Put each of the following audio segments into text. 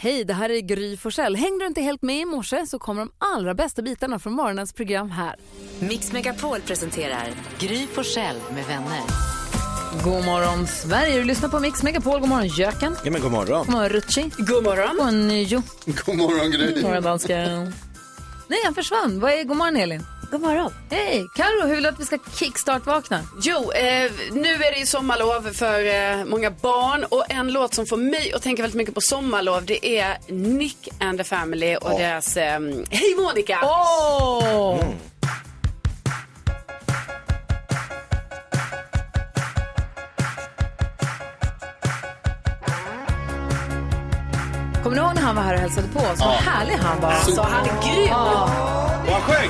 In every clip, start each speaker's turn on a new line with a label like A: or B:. A: Hej, det här är Gry Forssell. Hängde du inte helt med i morse så kommer de allra bästa bitarna från morgonens program här.
B: Mix Megapol presenterar Gry Forssell med vänner.
A: God morgon Sverige, du lyssnar på Mix Megapol. God morgon Jöken.
C: Ja, men god morgon.
A: God morgon Rutschi. God morgon. God morgon Nyo.
C: God morgon,
A: God morgon dansken. Nej, han försvann. Vad är god morgon Elin?
D: God morgon.
A: Hej, Karo, hur vill du att vi ska kickstart-vakna?
D: Jo, eh, nu är det ju sommarlov för eh, många barn och en låt som får mig att tänka väldigt mycket på sommarlov det är Nick and the Family och deras eh, Hej Monica!
A: Åh! Kommer ni ihåg när han var här och hälsade på oss? Vad härlig han var.
D: Alltså, han är grym!
C: Och han sjöng.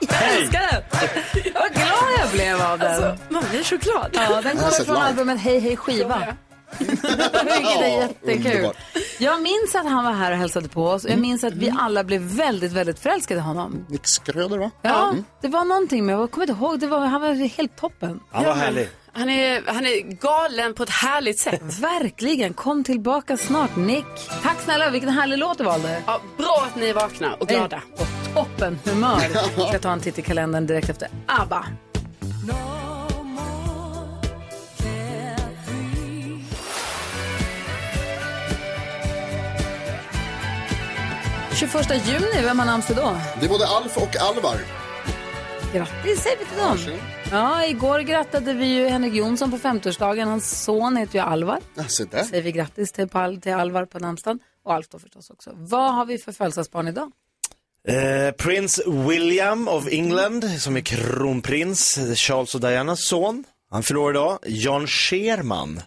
A: Jag älskar den! Vad glad jag blev av den.
D: Alltså, Man blir så glad.
A: ja, den kommer
E: Alltså,
C: sett
A: från
C: live.
A: albumet Hej Hej Skiva. Vilket är jättekul.
C: underbart. Mm.
A: Jag minns att han var här och hälsade på oss och jag minns att vi alla blev väldigt, väldigt förälskade i honom.
C: Nick Skröder, va? Mm.
A: Ja, det var någonting med, jag kommer inte ihåg, det var, han var helt toppen.
C: Han var härlig.
D: Han är, han är galen på ett härligt sätt.
A: Verkligen, kom tillbaka snart Nick. Tack snälla, vilken härlig låt du valde.
D: Ja, bra att ni är vakna och glada.
A: På toppen humör. Jag ska ta en titt i kalendern direkt efter ABBA. Första juni, vem har namnsdag då?
E: Det är både Alf och Alvar.
A: Grattis säger vi till dem.
E: Varsågod.
A: Ja, igår grattade vi ju Henrik Jonsson på 50-årsdagen. Hans son heter ju Alvar.
E: Ja, se där.
A: Säger vi grattis till, Pal, till Alvar på namnsdagen. Och Alf då förstås också. Vad har vi för födelsedagsbarn idag?
C: Eh, prins William of England, som är kronprins, Charles och Dianas son. Han förlorar idag. Jan Scherman.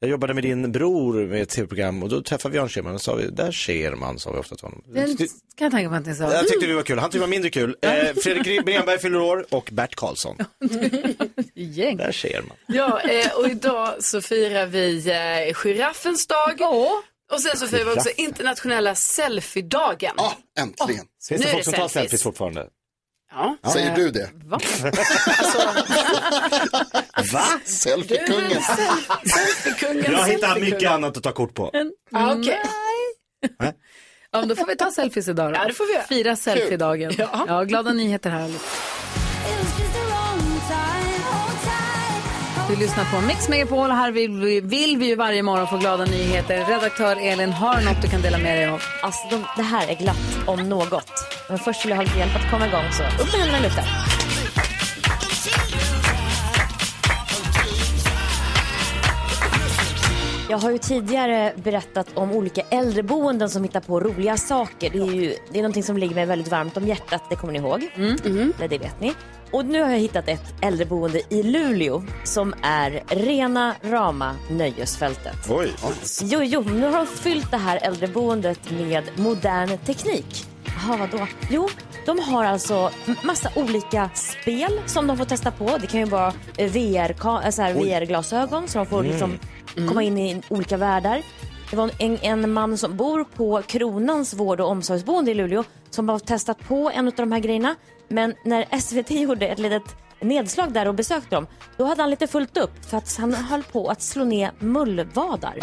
C: Jag jobbade med din bror med ett tv-program och då träffade vi Jan Scherman och sa vi, där Scherman, sa vi ofta till honom.
A: Den kan jag tänka mig att ni sa. Mm.
C: Jag tyckte vi var kul, han tyckte det var mindre kul. Eh, Fredrik Bremberg fyller år och Bert Karlsson.
A: Gäng.
C: Där ser man.
D: Ja, eh, och idag så firar vi eh, giraffens dag.
A: Åh,
D: Och sen så firar vi också internationella selfie-dagen.
E: Ja, äntligen.
C: Finns
D: Nu
C: det
D: är det
C: folk som tar
D: selfies.
C: selfies fortfarande?
D: Ja.
A: Eh,
E: Säger du det?
A: va?
C: Va?
E: Selfie-kungen.
D: Selfie-kungen.
C: Jag hittar mycket annat att ta kort på.
D: Ja, Ah, okej.
A: Mm. Ja, men då får vi ta selfies idag då.
D: Ja, det får vi göra.
A: Fira selfie-dagen. Ja.
D: Ja.
A: glada nyheter här. allihop. Du lyssnar på Mix Megapol och här vill vi, vill vi ju varje morgon få glada nyheter. Redaktör Elin, har du något du kan dela med dig av?
F: Alltså de, det här är glatt om något. Men först vill jag ha lite hjälp att komma igång så upp med händerna i luften. Jag har ju tidigare berättat om olika äldreboenden som hittar på roliga saker. Det är ju det är någonting som ligger mig väldigt varmt om hjärtat, det kommer ni ihåg. Eller det vet ni. Och nu har jag hittat ett äldreboende i Luleå som är rena rama nöjesfältet.
C: Oj.
F: Jo, jo, nu har de fyllt det här äldreboendet med modern teknik. Jaha, vadå? Jo, de har alltså m- massa olika spel som de får testa på. Det kan ju vara eh, VR-ka- eh, så här VR-glasögon så de får liksom komma in i olika världar. Det var en, en man som bor på Kronans vård och omsorgsboende i Luleå som har testat på en av de här grejerna. Men när SVT gjorde ett litet nedslag där och besökte dem, då hade han lite fullt upp för att han höll på att slå ner mullvadar.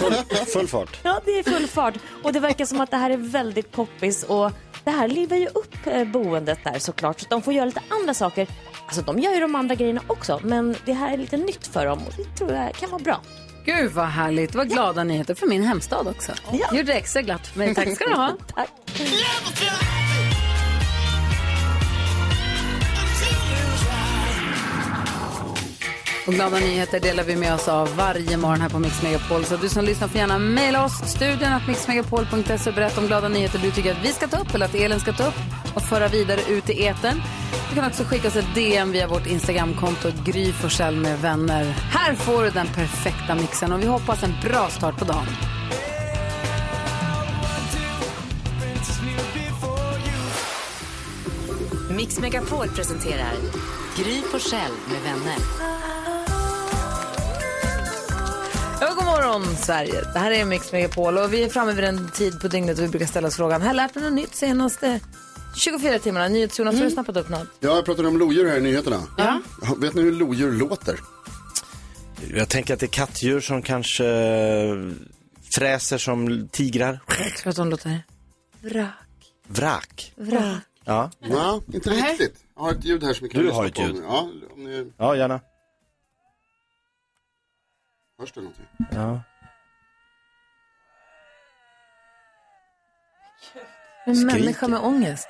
C: Full, full fart.
F: Ja, det är full fart. Och det verkar som att det här är väldigt poppis och det här livar ju upp eh, boendet där såklart. Så att de får göra lite andra saker. Alltså de gör ju de andra grejerna också, men det här är lite nytt för dem och det tror jag kan vara bra.
A: Gud vad härligt, vad glada nyheter för min hemstad också.
F: Ja.
A: Gjorde det extra glatt för mig. Tack ska du ha.
F: Tack.
A: Och glada nyheter delar vi med oss av varje morgon här på Mix Megapol. Så du som lyssnar får gärna mejla oss, studion att mixmegapol.se och berätta om glada nyheter du tycker att vi ska ta upp eller att Elin ska ta upp och föra vidare ut i etern. Du kan också skicka oss ett DM via vårt Instagramkonto Gry Forssell med vänner. Här får du den perfekta mixen och vi hoppas en bra start på dagen.
B: Mix Megapol presenterar Gry Forssell med vänner.
A: Ja, god morgon, Sverige. Det här är Mix Megapol och vi är framme vid den tid på dygnet då vi brukar ställa oss frågan. Har jag lärt mig något nytt senaste 24 timmarna? NyhetsJonas, har du snappat upp något?
E: Ja, jag pratade om lodjur här i nyheterna. Ja, Vet ni hur lodjur låter?
C: Jag tänker att det är kattdjur som kanske eh, fräser som tigrar.
A: Jag tror att de låter... Vrak,
C: Vrak.
A: vrak.
C: Ja,
E: Ja, inte riktigt. Jag har ett ljud här som vi kan
C: Du
E: lyssna
C: har ett
E: på.
C: ljud.
E: Ja, om ni
C: ja gärna.
E: hörs det någonting.
C: Ja.
A: En
C: Skriker.
A: människa med ångest.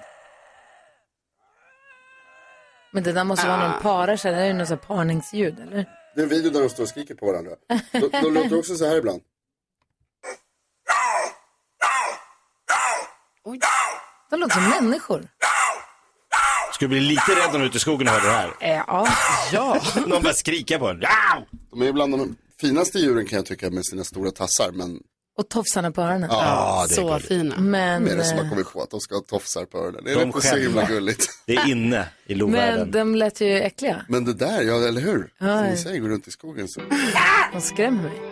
A: Men det där måste vara när de parar sig. Det är ju något sånt här parningsljud, eller?
E: Det är en video där de står och skriker på varandra. De, de låter också så här ibland.
A: De låter som människor.
C: Skulle bli lite rädd om du är ute i skogen och hörde det här.
A: Ja.
C: Ja. Någon börjar skrika på en. Ja!
E: De är bland de finaste djuren kan jag tycka med sina stora tassar. Men
A: Och tofsarna på
E: Ah,
A: öronen.
E: ja,
D: Så fina.
A: Men,
E: det är det som har
A: eh,
E: kommit på att de ska ha tofsar på öronen. Det
C: De
E: är inte så
C: själva.
E: himla gulligt.
C: Det är inne i
A: men
C: lovvärlden.
A: de lät ju äckliga.
E: Men det där, ja eller hur?
A: Ja,
E: Som
A: ja.
E: ni säger, går runt i skogen så.
A: De skrämmer mig.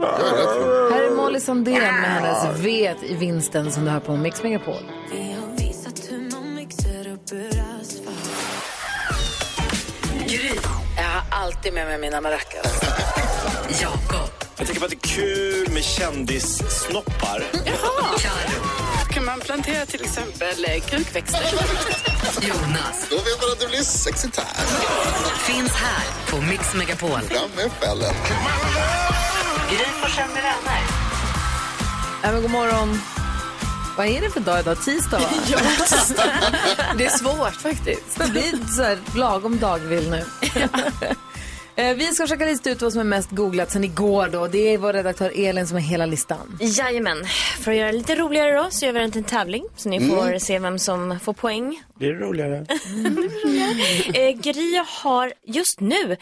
E: Jag är rädd för dem.
A: Här är Molly Sandén med hennes Vet i vinsten som du hör på Mix Megapol. Jag har alltid med mig mina maracas.
B: Jakob.
C: Jag tänker på att det är kul med kändissnoppar.
D: Kan man plantera till exempel eh, krukväxter?
B: Jonas.
E: Då vet man att det blir sexigt här.
B: Finns här på Mix Megapol.
E: Fram med fällen.
B: Gry Forssell med vänner.
A: Äh, men god morgon. Vad är det för dag idag? Tisdag, va? ja.
D: Det är svårt faktiskt.
A: Det blir så här lagom dagvill nu. Eh, Vi ska försöka lista ut vad som är mest googlat sen igår. Då. Det är vår redaktör Elin som är hela listan.
F: Jajamän. För att göra det lite roligare då så gör vi den till en tävling. Så ni
A: Mm.
F: får se vem som får poäng.
C: Det är roligare.
F: Eh, Gry har just nu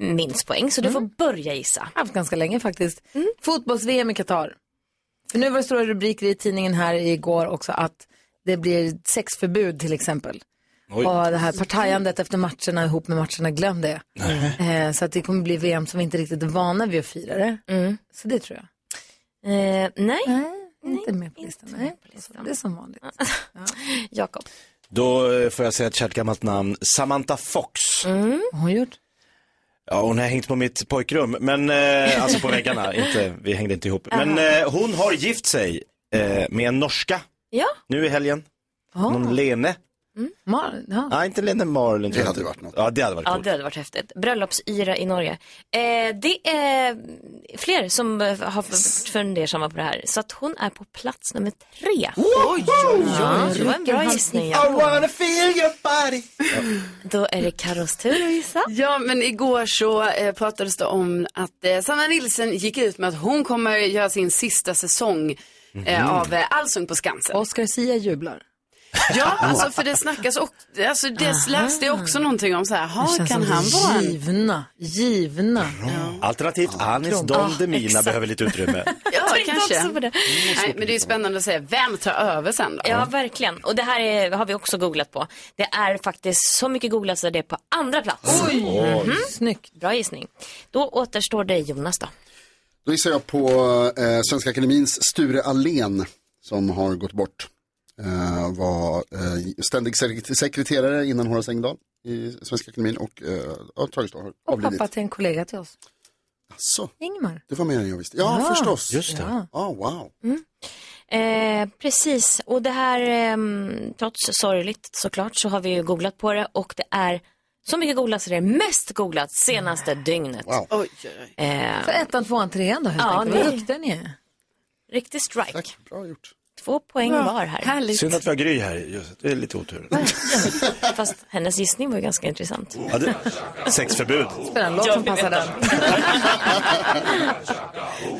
F: minst poäng så du får börja gissa.
A: Mm.
F: Mm.
A: haft ganska länge faktiskt. Fotbolls-VM i Qatar. För nu var det stora rubriker i tidningen här igår också att det blir sexförbud till exempel.
C: Oj.
A: Och det här partajandet efter matcherna ihop med matcherna, glöm det. Eh, så att det kommer bli VM som vi inte riktigt är vana vid att fira det. Så det tror jag.
F: Eh, nej,
A: Nej, inte med på listan. Nej. Det är som vanligt.
F: Jakob.
C: Då eh, får jag säga ett kärt gammalt namn. Samantha Fox.
F: Mm.
A: Vad har hon gjort?
C: Ja, hon har hängt på mitt pojkrum, men eh, alltså på väggarna, inte, vi hängde inte ihop. Men eh, hon har gift sig eh, med en norska
F: Ja,
C: nu i helgen. Någon Lene.
A: Mar- Mm. ja.
C: Nej, inte Lene Marlin. tror jag
E: hade
C: inte.
E: varit något.
C: Ja, det hade varit
F: ja
C: coolt.
F: det hade varit häftigt. Bröllopsyra i Norge. Eh, det är fler som eh, har varit fundersamma på det här. Så att hon är på plats nummer tre.
C: Oj, oj,
F: Ja, det var en bra gissning.
C: I
F: Jakob.
C: wanna feel your body.
F: Då är det Carros tur att gissa.
D: Ja, men igår så eh, pratades det om att eh, Sanna Nilsson gick ut med att hon kommer göra sin sista säsong
C: Mhm.
D: eh, av eh, Allsång på Skansen.
A: Oscar Sia jublar.
D: Ja, alltså för det snackas och, alltså det läste jag också någonting om så här,
A: Det
D: ha,
A: känns
D: kan
A: som
D: han vara en?
A: Givna, givna.
C: Alternativt Anis Don Demina behöver lite utrymme.
D: Ja, kanske.
F: också på det.
D: Nej, men det är ju spännande att se, vem tar över sen då?
F: Ja, verkligen. Och det här är, har vi också googlat på. Det är faktiskt så mycket googlat så det är på andra plats. Mhm.
A: Snyggt.
F: Bra gissning. Då återstår det Jonas då.
E: Då gissar jag på eh, Svenska Akademins Sture Allén som har gått bort. Eh, var eh, ständig sek- sekreterare innan Horace Engdahl i Svenska Akademin och eh, ja, tragiskt nog har
A: Och
E: avlidit.
A: pappa till en kollega till oss.
E: Så,
A: Ingmar.
E: det var mer än jag visste. Ja, förstås.
C: Just det.
E: Ja, wow.
G: Eh, precis, och det här, ehm, trots sorgligt såklart, så har vi ju googlat på det och det är så mycket googlat så det är mest googlat senaste dygnet.
E: Wow.
D: Oj, oj, oj.
G: Eh,
A: Så ettan, tvåan, trean då helt
G: Ja,
A: enkelt. Vad
G: nej.
A: duktig ni är.
G: riktig strike.
E: Tack, bra gjort.
G: Två poäng var här.
D: Härligt.
C: Synd att vi har Gry här, just. det är lite otur.
G: Fast hennes gissning var ju ganska intressant.
E: Oh.
C: Ja, det... Sexförbud.
A: Spela en låt som passar den.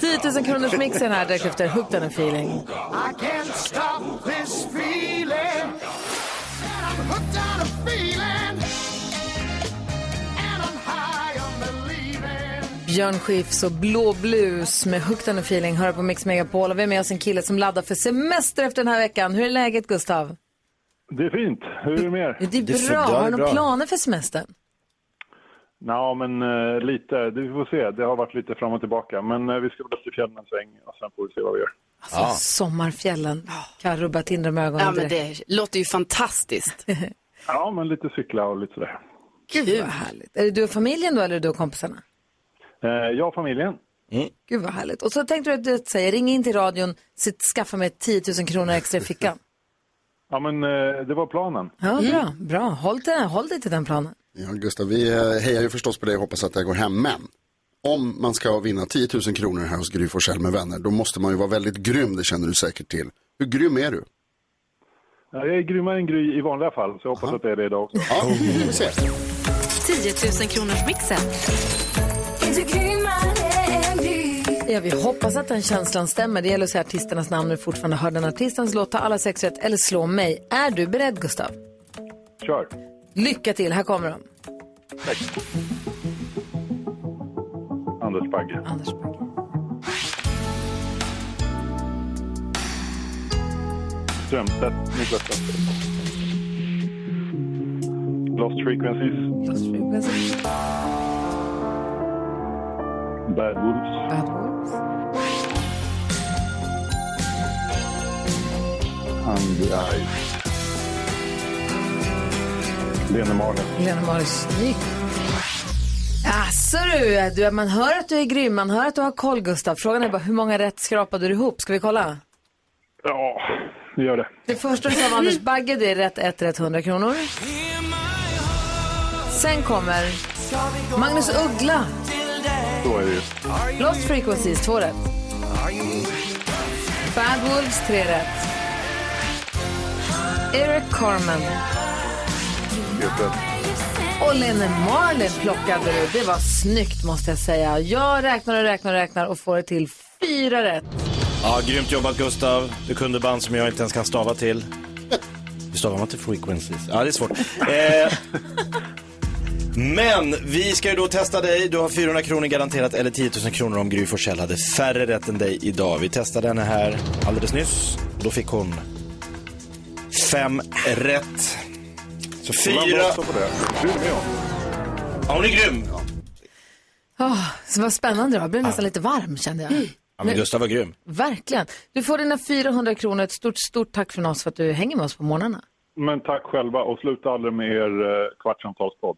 A: 10 000 kronors mixen här direkt efter Hooked on a feeling. Björn Skifs och Blå Blues med Hooked on a feeling hör på Mix Megapol. Och vi är med oss en kille som laddar för semester efter den här veckan. Hur är läget Gustav?
H: Det är fint. Hur är det med er?
A: Det är
C: Det är
A: bra. Har
C: bra.
A: du några planer för semestern?
H: Ja, men eh, lite. Du får se. Det har varit lite fram och tillbaka. Men eh, vi ska väl till fjällen en sväng och sen får vi se vad vi gör.
A: Alltså sommarfjällen. Karro börjar tindra med ögonen
D: Ja, men
A: direkt.
D: det låter ju fantastiskt.
H: Ja, men lite cykla och lite sådär.
A: Gud vad härligt. Är det du och familjen då eller är det du och kompisarna?
H: Eh, jag och familjen.
A: Gud vad härligt. Och så tänkte du att du säger, ring in till radion, sitt, skaffa mig 10 000 kronor extra i fickan.
H: Ja, men eh, det var planen.
A: Ja,
D: Mm.
A: bra. bra. Håll, till, håll dig till den planen.
E: Ja, Gustav, vi eh, hejar ju förstås på dig och hoppas att det här går hem. Men om man ska vinna 10 000 kronor här hos Gry Forssell med vänner, då måste man ju vara väldigt grym, det känner du säkert till. Hur grym är du?
H: Ja, jag är grymmare än Gry i vanliga fall, så jag hoppas att det är det idag också.
E: Ja, vi får se.
B: 10 000 kronors mixen.
A: Ja, vi hoppas att den känslan stämmer. Det gäller att säga artisternas namn när du fortfarande hör den artistens låt. Ta alla sex rätt eller slå mig. Är du beredd Gustav?
H: Kör!
A: Lycka till, här kommer de.
H: Anders Bagge.
A: Anders Bagge.
H: Strömstedt. Niklas Strömstedt. Lost Frequencies.
A: Lost Frequencies,
H: Bad Wolves.
A: Bad Wolves.
H: Andy Eyes. Lene Marlin.
A: Helena Maris. Snyggt. Jaså du, du, man hör att du är grym, man hör att du har koll Gustav. Frågan är bara hur många rätt skrapade du ihop? Ska vi kolla?
H: Ja, vi gör det.
A: Det första du sa var Anders Bagge, det är rätt 1, rätt 100 kronor. Sen kommer Magnus Uggla,
H: Så är det ju.
A: Lost Frequencies, 2 rätt. Bad Wolves, 3 rätt. Eric Carmen
H: Helt rätt.
A: och Lene Marlin plockade du. Det var snyggt måste jag säga. Jag räknar och räknar och räknar och får det till fyra rätt.
C: Ja, grymt jobbat Gustav. Du kunde band som jag inte ens kan stava till. Hur stavar man till frequencies? Ja, det är svårt. Eh, men vi ska ju då testa dig. Du har 400 kronor garanterat eller 10 000 kronor om Gry Forssell hade färre rätt än dig idag. Vi testade henne här alldeles nyss. Då fick hon fem rätt. Så
H: Men
C: fyra.
H: bra också på det. Du är med om.
C: Ja, hon är grym.
A: Oh, så vad spännande det var. Jag blev nästan lite varm kände jag.
C: Ja, men Gustav var grym.
A: Verkligen. Du får dina 400 kronor. Ett stort, stort tack från oss för att du hänger med oss på morgnarna.
H: Men tack själva och sluta aldrig med er eh, kvartsamtalspodd.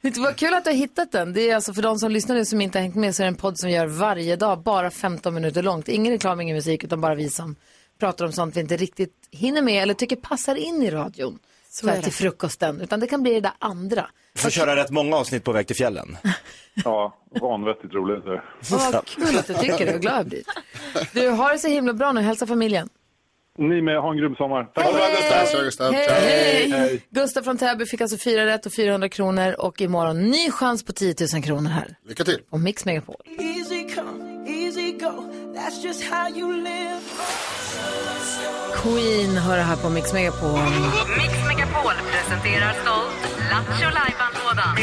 A: Det var kul att du har hittat den. Det är alltså för de som lyssnar nu som inte har hängt med så är det en podd som vi gör varje dag, bara 15 minuter långt. Ingen reklam, ingen musik, utan bara vi som pratar om sånt vi inte riktigt hinner med eller tycker passar in i radion. Så här, till frukosten, utan det kan bli det där andra.
C: Du får köra rätt många avsnitt på väg till fjällen.
H: Ja, vanvettigt roligt. det.
A: Och vad kul att du tycker det, och glad jag blir. Du, har det så himla bra nu. Hälsa familjen.
H: Ni med, ha en grym sommar. Tack.
E: Tack så mycket, Gustav. Ciao.
A: Hej! Gustav från Täby fick alltså fyra rätt och 400 kronor och imorgon ny chans på 10 000 kronor här.
E: Lycka till.
A: Och Mix Megapol. Queen hör det här på Mix Megapol.
B: Mix Megapol presenterar stolt Lattjo Lajban-lådan.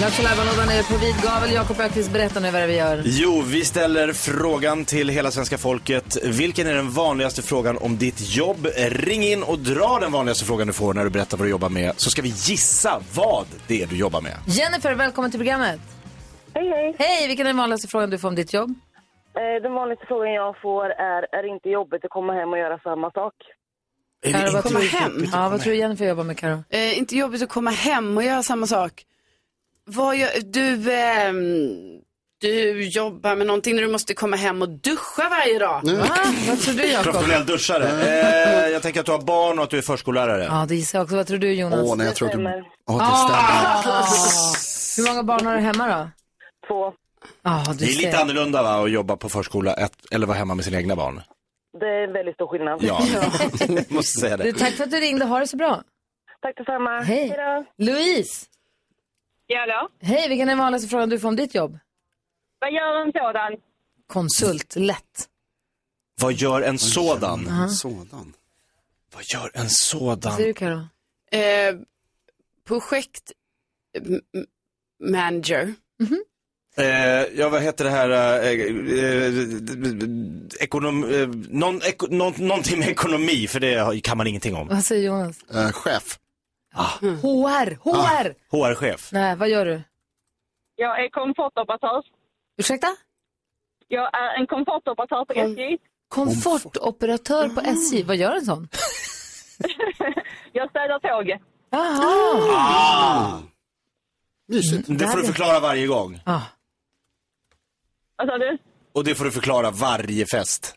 A: Lattjo Lajban-lådan är på vid gavel. Jakob Ökvist, berätta nu vad det är vi gör.
C: Jo, vi ställer frågan till hela svenska folket. Vilken är den vanligaste frågan om ditt jobb? Ring in och dra den vanligaste frågan du får när du berättar vad du jobbar med. Så ska vi gissa vad det är du jobbar med.
A: Jennifer, välkommen till programmet.
I: Hej, hej.
A: Hej, vilken är den vanligaste frågan du får om ditt jobb?
I: Eh, Den vanligaste frågan jag får är, är inte jobbet att komma hem och göra samma sak?
A: Karo, vad
D: Komma
A: tror,
D: hem.
A: ja, vad tror du Jennifer jobbar med Karo?
D: Eh, inte jobbigt att komma hem och göra samma sak. Vad gör, du, ehm, du jobbar med någonting när du måste komma hem och duscha varje dag.
A: Ah, vad tror du Jakob?
C: Professionell duschare. Eh, jag tänker att du har barn och att du är förskollärare.
A: Ja, det gissar jag också. Vad tror du Jonas? Ah!
E: Åh, nej, jag tror att du... Åh, det stämmer.
A: Hur många barn har du hemma då?
I: Två.
A: Ja, du
C: Det är lite
A: ser.
C: annorlunda va, att jobba på förskola ett, eller vara hemma med sina egna barn.
I: Det är en väldigt stor skillnad.
C: Ja, jag måste säga
A: Du,
C: det.
A: tack för att du ringde. Ha det så bra.
I: Tack detsamma.
A: Hej.
I: då.
A: Louise,
I: Ja, hallå.
A: hej, vilken är den vanligaste frågan du får om ditt jobb?
I: Vad gör en sådan?
A: Konsult, lätt.
C: Vad gör en sådan?
E: Sådan.
C: Vad gör en sådan?
A: Ser du Karo?
D: Eh, projekt m- m- manager.
C: Eh, ja, vad heter det här? Eh, eh, ekonom, eh, någon, eko, någon, någonting med ekonomi, för det kan man ingenting om.
A: Vad säger Jonas?
E: Eh, chef.
A: HR, HR!
C: HR-chef.
A: Ah. Nej, vad gör du?
I: Jag är komfortoperatör.
A: Ursäkta?
I: Jag är en komfortoperatör på SJ.
A: Komfortoperatör
I: Mm.
A: på SJ, vad gör en sån?
I: Jag städar tåget.
A: Jaha!
I: Ah.
E: Mysigt.
C: Det får du förklara varje gång.
A: Ah.
I: Vad sa du?
C: Och det får du förklara varje fest.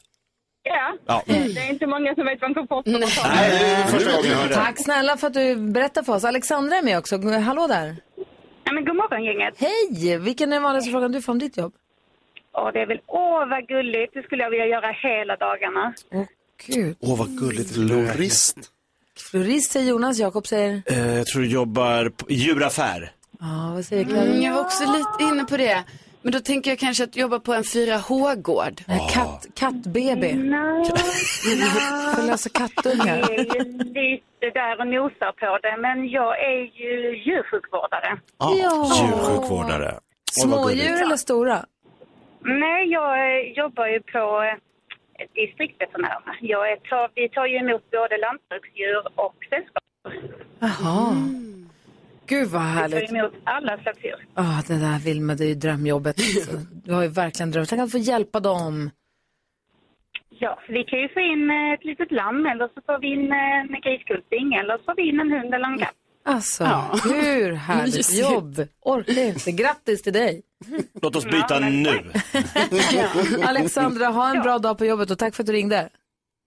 I: Ja.
C: Ja.
A: Mm.
I: Det är inte många som vet vad en komfortoperatör är.
C: Nej, det är första gången jag hör det.
A: Tack snälla för att du berättar för oss. Alexandra är med också. Hallå där.
I: Nej, men god morgon gänget.
A: Hej! Vilken är den vanligaste frågan du får om ditt jobb?
I: Åh, det är väl, åh vad gulligt. Det skulle jag vilja göra hela dagarna.
A: Åh gud.
C: Åh, vad gulligt.
E: Florist.
A: Florist säger Jonas, Jakob säger...
C: Eh, jag tror du jobbar på i djuraffär.
A: Ja, vad säger Karin?
D: Mm, jag var också lite inne på det. Men då tänker jag kanske att jobba på en 4H-gård.
A: Nej, Katt, katt-BB.
I: Nej,
A: För att lösa kattungar.
I: det är ju lite där och nosar på det. Men jag är ju djursjukvårdare.
C: Djursjukvårdare. Åh, vad gulligt.
A: Smådjur eller stora?
I: Nej, jag eh, jobbar ju på eh, distriktsveterinär. Jag är tar, vi tar ju emot både lantbruksdjur och sällskap.
A: Jaha. Mm. Gud vad
I: Vi
A: härligt.
I: tar emot alla slags djur.
A: Ja, det där Vilma, det är ju drömjobbet.
I: Mm.
A: Alltså. Du har ju verkligen drömt. Tänk att få hjälpa dem.
I: Ja, så vi kan ju få in eh, ett litet lamm eller så får vi in eh, en griskulting eller så får vi in en hund eller en katt.
A: Alltså, hur härligt
D: Mysigt.
A: jobb. Orkar inte. Grattis till dig.
C: Låt oss byta nu.
A: Alexandra, ha en bra dag på jobbet och tack för att du ringde.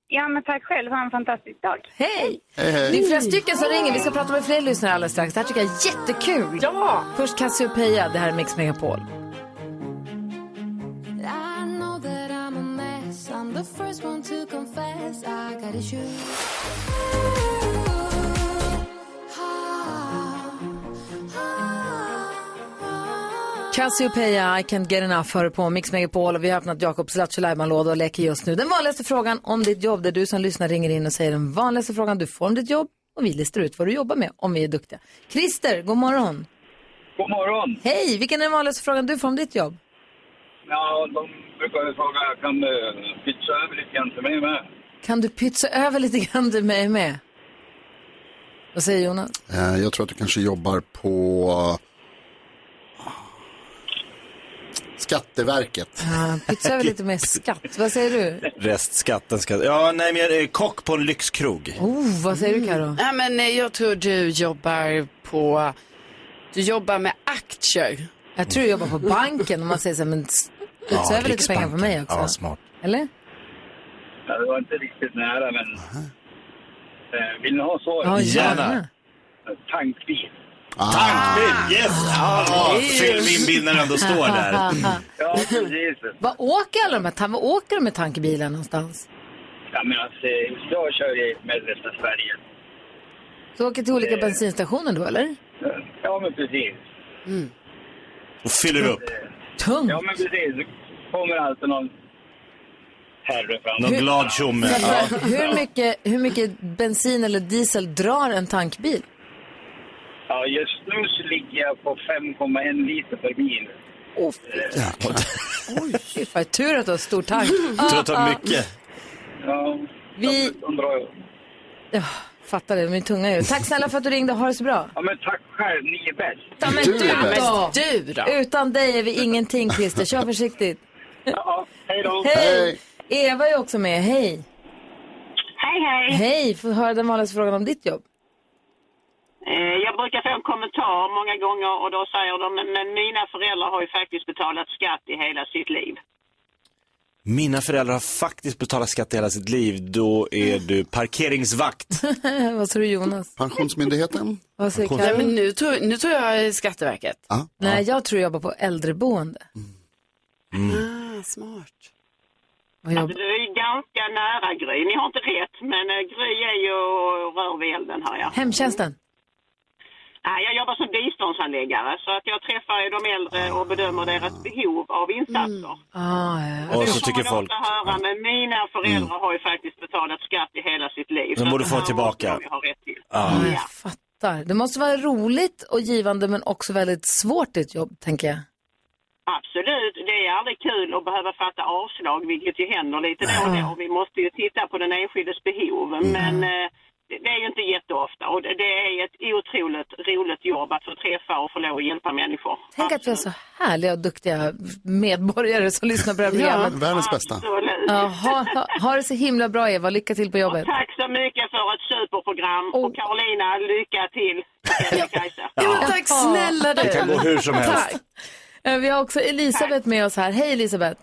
I: Ja, men tack själv. Ha en fantastisk dag.
A: Hej! Det är flera stycken som ringer. Vi ska prata med fler lyssnare alldeles strax. Det här tycker jag är jättekul. Ja! Först Cassiopeia, det här är Mix Megapol. Cassiopeia, I can't get enough, hör på Mix Megapol och vi har öppnat Jakobs Lattjo Lajban-låda och leker just nu. Den vanligaste frågan om ditt jobb, där du som lyssnar ringer in och säger den vanligaste frågan du får om ditt jobb och vi listar ut vad du jobbar med om vi är duktiga. Christer, god morgon.
J: God morgon!
A: Hej, vilken är den vanligaste frågan du får om ditt jobb?
J: Ja, de brukar ju fråga, jag kan uh, pitcha över lite grann till mig med.
A: Kan du pytsa över lite grann till mig med? Vad säger Jonas?
E: Eh, jag tror att du kanske jobbar på... Skatteverket.
A: Ja, pytsa över lite mer skatt. Vad säger du?
C: Restskatten ska... Ja, nej, men jag är kock på en lyxkrog.
A: Oh, vad säger du Karo?
D: Nej, men eh, jag tror du jobbar på... Du jobbar med aktier.
A: Jag tror du jobbar på banken om man säger så här, men s- pytsa över lite pengar på mig också.
C: Ja, smart.
A: Eller?
J: Ja, det var inte riktigt nära, men... Eh, vill ni ha svaret?
A: Ja,
C: Gärna. Ah.
J: Tankbil.
C: Tankbil, yes! Ja, Fyllvinbindaren, då står där.
J: Ja, precis.
A: Vad åker alla de här, tan- vad åker de med tankebilar någonstans?
J: Ja, men alltså, jag kör i mellersta Sverige.
A: Du åker till olika bensinstationer då eller?
J: Ja, men precis.
C: Och fyller upp.
A: Mm. Tungt.
J: Ja, men precis. Då kommer alltid någon herre fram.
C: Någon glad tjomme. Ja.
A: Vänta, Hur, mycket, hur mycket bensin eller diesel drar en tankbil?
J: Ja, just nu så ligger jag på 5,1 liter per mil.
A: Åh, fy fan. Tur att du har stor tank.
C: Jag tror att det var mycket.
J: Ja,
A: Vi-
J: de drar jag.
A: Ja, Fattar det, min tunga är ju. Tack snälla för att du ringde, ha det så bra.
J: Ja, men tack själv. Ni är bäst.
A: Ja, men
E: Du är
A: du
E: bäst.
A: då!
D: Du då?
A: Utan dig är vi ingenting Christer, kör försiktigt.
J: Ja, hej då.
A: Hej!
E: Hej.
A: Eva är också med, hej!
K: Hej, hej.
A: Hej, får höra den vanligaste frågan om ditt jobb.
K: Eh, Jag brukar få en kommentar många gånger och då säger de, men mina föräldrar har ju faktiskt betalat skatt i hela sitt liv.
C: Mina föräldrar har faktiskt betalat skatt i hela sitt liv. Då är du parkeringsvakt.
A: Vad tror du Jonas?
E: Pensionsmyndigheten?
A: Vad säger
C: Konstigt.
D: Nej,
A: Karin?
D: men nu, tror, nu tror jag Skatteverket.
A: Nej, jag tror jag jobbar på äldreboende.
D: Ah, smart.
A: Vad jobb-
K: Alltså, du är ju ganska nära Gry. Ni har inte rätt, men eh, Gry är ju och rör vid elden, hör jag.
A: Hemtjänsten.
K: Nej, jag jobbar som biståndsanläggare, så att jag träffar ju de äldre och bedömer deras behov av insatser.
A: Ah, ja.
C: Och så tycker folk, Mm.
K: Jag höra, men mina föräldrar har ju faktiskt betalat skatt i hela sitt liv.
C: Den
K: så
C: borde
K: att
C: få
K: det här
C: tillbaka.
K: måste de ju ha rätt till.
C: ja.
A: Jag fattar. Det måste vara roligt och givande men också väldigt svårt ditt jobb, tänker jag.
K: Absolut, det är aldrig kul att behöva fatta avslag, vilket ju händer lite då och då. Vi måste ju titta på den enskildes behov,
C: Mm.
K: men eh, det det är ju inte jätteofta. Och det- det är ett otroligt roligt jobb att få träffa och få lov att hjälpa människor.
A: Tänk att vi har så härliga och duktiga medborgare som lyssnar på det här programmet.
E: Världens bästa.
K: Absolut.
A: Ja, ha, ha, ha det så himla bra Eva, lycka till på jobbet.
K: Tack så mycket för ett superprogram och Carolina, lycka till! Kajsa.
D: Ja, men tack snälla du.
C: det kan gå hur som helst.
A: Tack. Eh, Vi har också Elisabeth med oss här. Hej Elisabeth!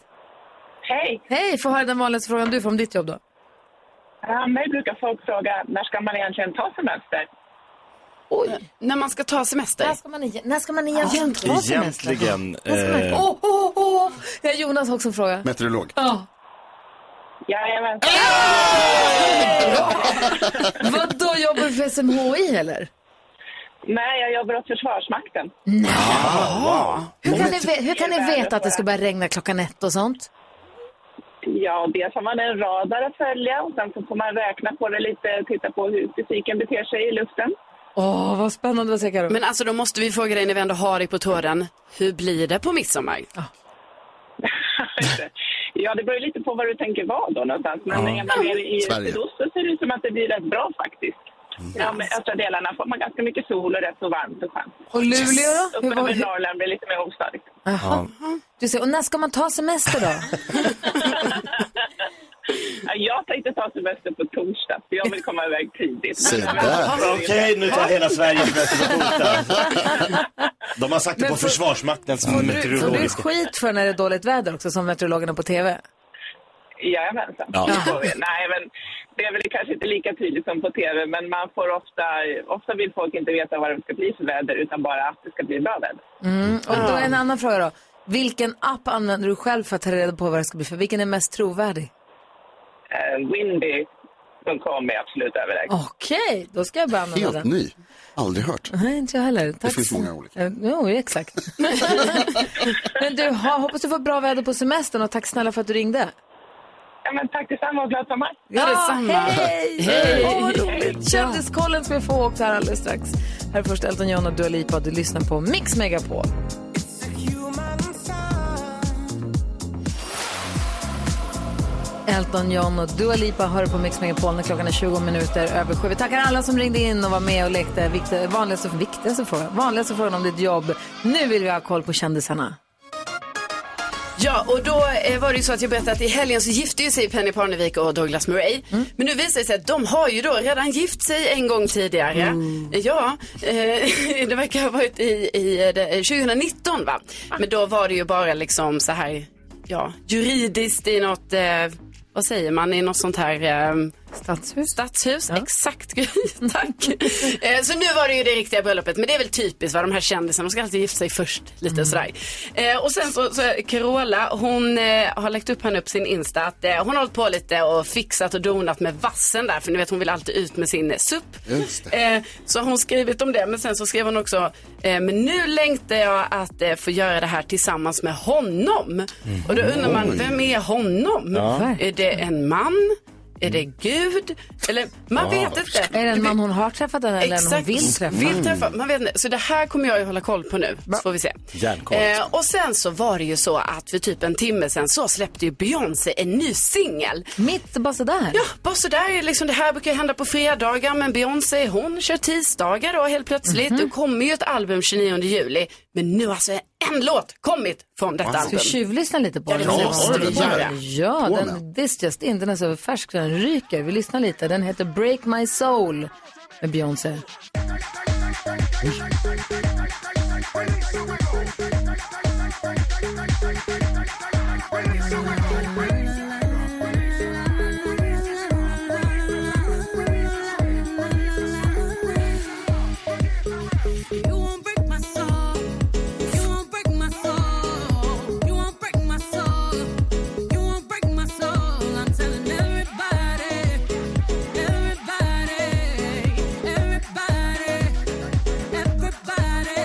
L: Hej!
A: Hej, få höra den vanligaste frågan du får om ditt jobb då.
L: Ja, mig brukar folk fråga när ska man egentligen ta semester?
A: Oj.
D: När man ska ta semester.
F: När ska man, egen- när ska man egentligen ta semester?
C: Egentligen.
A: alltså.
C: Eh,
A: Åh, åh, åh! Ja, Jonas oh, har också en fråga.
E: Meteorolog.
A: Ja.
L: Jajamän.
A: Vad då jobbar du för SMHI eller?
L: Nej, jag jobbar åt Försvarsmakten.
A: Hur kan, ni, ve- hur kan ni veta att det ska börja regna klockan ett och sånt?
L: Ja, dels har man en radar att följa och sen så får man räkna på det lite, titta på hur fysiken beter sig i luften.
A: Åh, vad spännande, vad säger Karo?
D: Men alltså då måste vi fråga dig när vi ändå har dig på tråden. Hur blir det på midsommar?
A: Ah.
L: Ja, det beror ju lite på vad du tänker vara då någonstans. Men är man nere i
E: Sverige.
L: sydost så ser det ut som att det blir rätt bra faktiskt. Ja, men östra delarna får man ganska mycket sol och rätt så varmt och skönt.
A: Och Luleå då? Hur
L: Uppe
A: var-
L: över Norrland blir det lite mer ostadigt.
A: Jaha. Du säger, och när ska man ta semester då?
L: Ja, Jag tänkte ta semester på torsdag, för jag vill komma iväg tidigt.
E: Se där.
C: Okej, nu tar hela Sverige semester på torsdag. De har sagt det på Försvarsmaktens
A: Får du
C: meteorologiska...
A: skit för när det är dåligt väder också, som meteorologerna på TV?
L: Jajamensan.
C: Ja.
L: Det får vi. Nej, men det är väl kanske inte lika tydligt som på tv, men man får ofta... Ofta vill folk inte veta vad det ska bli för väder, utan bara att det ska bli bra väder.
A: Mm. Och då en annan fråga då. Vilken app använder du själv för att ta reda på vad det ska bli för? Vilken är mest trovärdig?
L: Eh, Windy.com är absolut överlägsen.
A: Okej, då ska jag börja använda
E: Helt
A: den.
E: ny. Aldrig hört.
A: Nej, inte jag heller. Tack.
E: finns många olika.
A: Eh, Jo, exakt. Men du, ha, hoppas du får bra väder på semestern och tack snälla för att du ringde.
L: Ja, men tack detsamma och glad sommar! Ah,
A: Ja,
D: detsamma.
A: hej!
D: Hej.
A: Åh, vad roligt. Kändiskollen ska vi få också här alldeles strax. Här är först Elton John och Dua Lipa. Du lyssnar på Mix Megapol. Elton John och Dua Lipa hör på Mix Megapol när klockan är 20 minuter över sju. Vi tackar alla som ringde in och var med och lekte. Viktig, vanligaste, viktigaste frågan, vanligaste frågan om ditt jobb. Nu vill vi ha koll på kändisarna.
D: Ja, och då eh, var det ju så att jag berättade att i helgen så gifte ju sig Penny Parnevik och Douglas Murray. Men nu visar det sig att de har ju då redan gift sig en gång tidigare. Ja, eh, det verkar ha varit i, i eh, det- 2019 va. Men då var det ju bara liksom så här, ja, juridiskt i något, eh, vad säger man, i något sånt här eh,
A: Stadshus.
D: Stadshus, exakt Gry, tack. eh, så nu var det ju det riktiga bröllopet, men det är väl typiskt vad de här kändisarna, de ska alltid gifta sig först lite sådär. Eh, och sen så, så är Carola, hon eh, har lagt upp henne upp sin Insta att eh, hon har hållit på lite och fixat och donat med vassen där, för ni vet hon vill alltid ut med sin eh, SUP.
E: Just det.
D: Eh, så har hon skrivit om det, men sen så skrev hon också, eh, men nu längtar jag att eh, få göra det här tillsammans med honom.
E: Mm.
D: Och då undrar man, vem är honom? Är det en man? Är det Gud? Eller, man vet inte.
A: Är det en man hon har träffat eller en hon
D: Exakt.
A: vill träffa?
D: Vill träffa. Man vet inte. Så det här kommer jag ju hålla koll på nu. Så får vi se.
C: Järnkoll.
D: Eh, och sen så var det ju så att för typ en timme sen så släppte ju Beyoncé en ny singel.
A: Mitt bara sådär?
D: Ja, bara sådär. Liksom, det här brukar ju hända på fredagar, men Beyoncé
A: Mhm.
D: hon kör tisdagar då helt plötsligt. Det kommer ju ett album 29 juli, men nu alltså en låt kommit från detta
A: Ska vi
D: album.
A: tjuvlyssna lite på
D: Ja,
A: den?
D: det måste vi göra.
A: Ja,
D: På
A: den,
D: med.
A: this just in, den är så färsk så den ryker. Vi lyssnar lite. Den heter Break My Soul med Beyoncé.
M: You won't break my soul. You won't break my soul. You won't break my soul. You won't break my soul. I'm telling everybody, everybody, everybody, everybody.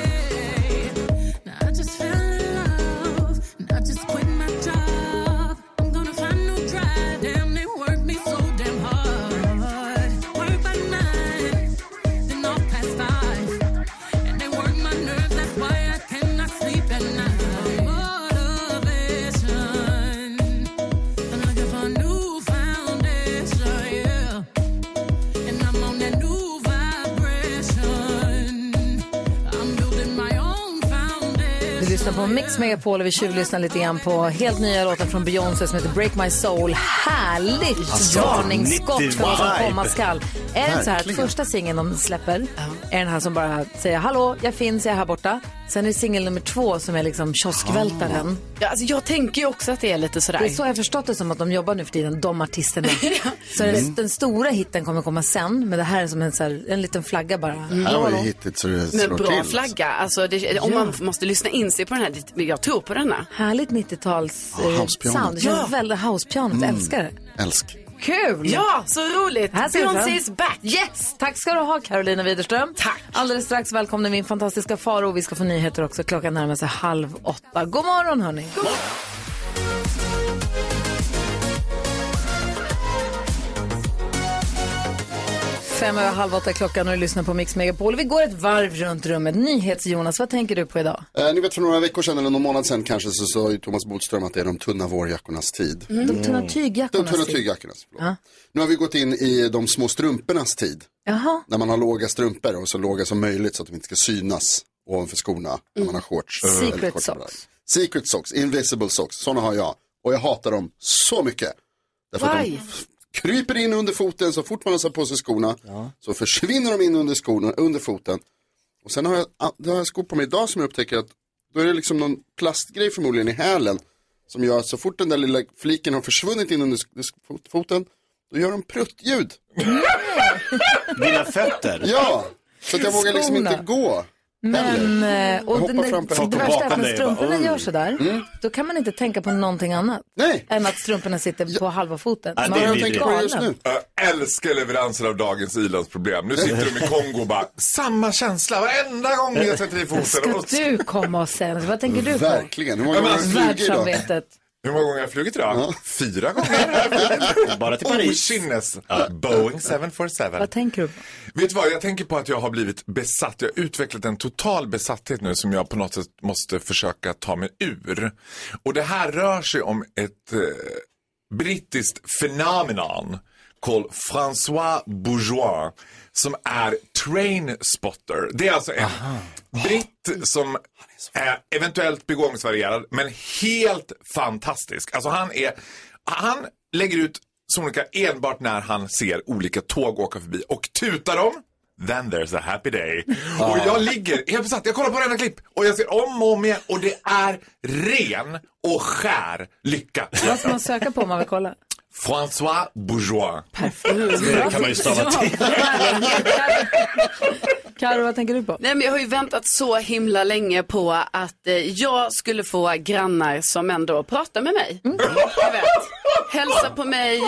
M: Now I just fell in love, and I just quit my job. I'm gonna find no drive. Damn, they work me so damn hard. Work by nine, then off past five. And they work my nerves, that's why I cannot sleep at night. Motivation. I'm looking for a new foundation, yeah. And I'm on that new vibration. I'm building my own foundation.
A: Vi lyssnar på Mix Megapol och vi tjuvlyssnar lite grann på helt nya låtar från Beyoncé som heter Break My Soul. Härligt
M: Alltså,
A: varningsskott för vad som
M: 90 vibe.
A: komma skall. Är det så här att
M: Verkligen.
A: första singeln de släpper är den här som bara säger hallå, jag finns, jag är här borta. Sen är det singel nummer två som är liksom kioskvältaren.
D: Ja, alltså, jag tänker ju också att det är lite sådär.
A: Det är så jag har förstått det som att de jobbar nu för tiden, de artisterna. Så
D: Mm.
A: den, den stora hitten kommer komma sen, men det här är som en, så här, en liten flagga bara.
E: Här har vi hittat så det
D: Mm. Men
E: slår
D: bra
E: till.
D: flagga, alltså det, om
A: Ja.
D: man måste lyssna in sig på den här, det- jag tror på denna.
A: Härligt 90-tals
D: Ja,
A: eh,
D: housepianot.
A: sound. Det känns
D: Ja.
A: väldigt housepianot,
D: Mm.
A: älskar det.
E: Älsk.
A: Kul!
D: Ja, så roligt!
A: Här ser vi fram.
D: Beyoncé is back!
A: Yes! Tack ska du ha Carolina Widerström. Tack! Alldeles strax välkomnar vi min fantastiska faro. Vi ska få nyheter också. Klockan närmar sig halv åtta. God morgon hörni! Fem över halv åtta är klockan och du lyssnar på Mix Megapol. Vi går ett varv runt rummet. NyhetsJonas, vad tänker du på idag?
E: Eh, ni vet för några veckor sedan eller någon månad sedan kanske så sa ju Thomas Bodström att det är de tunna vårjackornas tid.
A: Mm. De tunna
E: De
A: tygjackorna.
E: tunna
A: Stig.
E: tygjackornas. förlåt.
A: Ja.
E: Nu har vi gått in i de små strumpornas tid.
A: Jaha.
E: När man har låga strumpor och så låga som möjligt så att de inte ska synas ovanför skorna när man har shorts.
A: Mm.
E: eller
A: Secret
E: korta
A: socks.
E: brallor. Secret socks, invisible socks, sådana har jag. Och jag hatar dem så mycket. Därför att de
M: Why?
E: f- kryper in under foten så fort man har satt på sig skorna. Så försvinner de in under, skorna, under foten. Och sen har jag, ah, det har jag skor på mig idag som jag upptäcker att då är det liksom någon plastgrej förmodligen i hälen. Som gör att så fort den där lilla fliken har försvunnit in under sk- sk- foten, då gör de pruttljud.
C: Dina fötter?
E: Ja, så att jag vågar liksom
A: Skorna.
E: inte gå.
A: Men,
E: heller.
A: eh, och
E: Jag
A: den,
E: hoppar
A: den,
E: fram på-
A: det värsta är att när strumporna gör sådär,
E: Mm.
A: då kan man inte tänka på någonting annat. Än att strumporna sitter på halva foten.
N: Ja, det
A: man
N: är
A: blir
N: vidrigt.
A: galen.
N: Jag älskar leveranser av dagens ilandsproblem. Nu sitter de i Kongo och bara, samma känsla varenda gång jag sätter i foten. Och...
A: Ska du komma och säga något? Vad tänker du på?
E: Verkligen. Hur många
N: gånger har
C: alltså,
N: du flugit idag?
A: Världssamvetet.
N: Hur många gånger har jag flugit idag? Fyra gånger. Bara till Paris. Okynnes. Boeing 747.
A: Vad tänker du på?
N: Vet du vad, jag tänker på att jag har blivit besatt. Jag har utvecklat en total besatthet nu som jag på något sätt måste försöka ta mig ur. Och det här rör sig om ett eh, brittiskt fenomenon kallad François Bourgeois som är trainspotter. Det är alltså en britt som är eventuellt begåvningsvarierad men helt fantastisk. Alltså han är, han lägger ut sonika enbart när han ser olika tåg åka förbi och tutar dem. Then there's a happy day. Och jag ligger helt besatt, jag kollar på denna klipp och jag ser om och om igen och det är ren och skär lycka.
A: Vad ska man söka på om man vill kolla?
N: François Bourgeois.
A: Perfekt.
N: Det kan man ju stava till.
A: Karo, vad tänker du på?
D: Nej, men jag har ju väntat så himla länge på att eh, jag skulle få grannar som ändå pratar med mig.
A: Mm.
D: Jag vet. Hälsa på mig,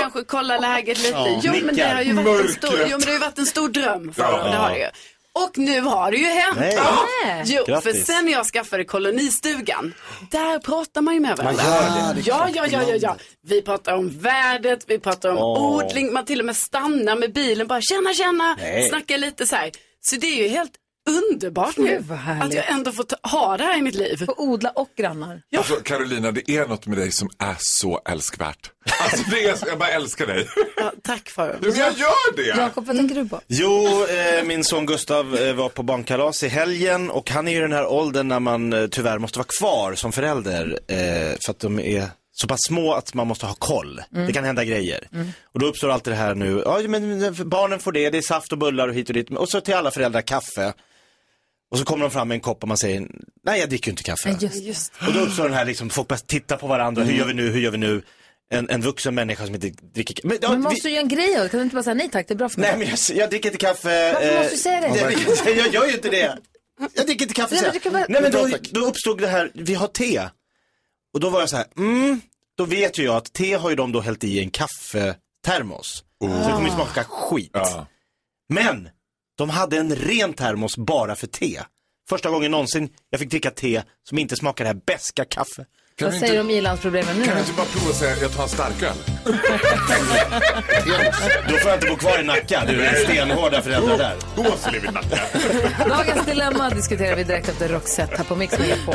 D: kanske kolla läget lite.
M: Ja,
D: jo, men det
M: nickar.
D: har ju varit en stor,
M: Mörkret.
D: jo, men det har ju varit en stor dröm för
M: Ja.
D: dem. Det har det ju. Och nu har det ju hänt.
M: Nej.
D: Ja.
M: Nej.
D: Jo, för
M: Grattis.
D: sen när jag skaffade kolonistugan, där pratar man ju med varandra.
M: Man gör det.
D: Ja, ja, ja, ja, ja. Vi pratar om vädret, vi pratar om
M: Åh.
D: odling, man till och med stannar med bilen bara tjena, tjena,
M: Nej.
D: snackar lite så här. Så det är ju helt underbart
A: Gud,
D: nu
A: vad härligt.
D: att jag ändå får ta- ha det här i mitt liv.
A: Få odla och grannar.
N: Alltså Carolina, det är något med dig som är så älskvärt. Alltså det är, jag bara älskar dig.
D: Ja, tack Farao.
N: men jag gör det!
A: Jakob, vad tänker du på?
C: Jo, eh, min son Gustav eh, var på barnkalas i helgen och han är ju i den här åldern när man eh, tyvärr måste vara kvar som förälder eh, för att de är så pass små att man måste ha koll.
M: Mm.
C: Det kan hända grejer. Och då uppstår alltid det här nu, ja men barnen får det, det är saft och bullar och hit och dit. Och så till alla föräldrar kaffe. Och så kommer de fram med en kopp och man säger, nej jag dricker ju inte kaffe.
A: Just.
C: Och då uppstår den här liksom, folk börjar titta på varandra,
M: Mm.
C: hur gör vi nu, hur gör vi nu? En, en vuxen människa som inte dricker kaffe. Men, ja,
A: Men
C: vi-
A: måste du göra en grej av det? Kan du inte bara säga nej tack, det är bra för mig?
C: Nej men jag, jag dricker inte kaffe.
A: Varför måste du säga det?
C: Jag, dricker inte- jag gör ju inte det. Jag dricker inte kaffe
A: Nej, men
C: säger
A: du
C: jag.
A: kan väl-
C: Nej men då,
A: Bra, tack.
C: då uppstod det här, vi har te. Och då var jag så här, mm, då vet ju jag att te har ju de då hällt i en kaffetermos. Så det kommer
A: Ah.
C: ju smaka skit. Men, de hade en ren termos bara för te. Första gången någonsin jag fick dricka te som inte smakar det här beska kaffe.
A: Vad säger du om i-landsproblemen nu
N: Kan du
A: då?
N: inte bara prova att säga jag tar en starköl?
C: Då får jag inte bo kvar i Nacka, du är stenhårda föräldrar där.
N: Då skulle vi Nacka.
A: Dagens dilemma diskuterar vi direkt efter Roxette här på Mix Megapol.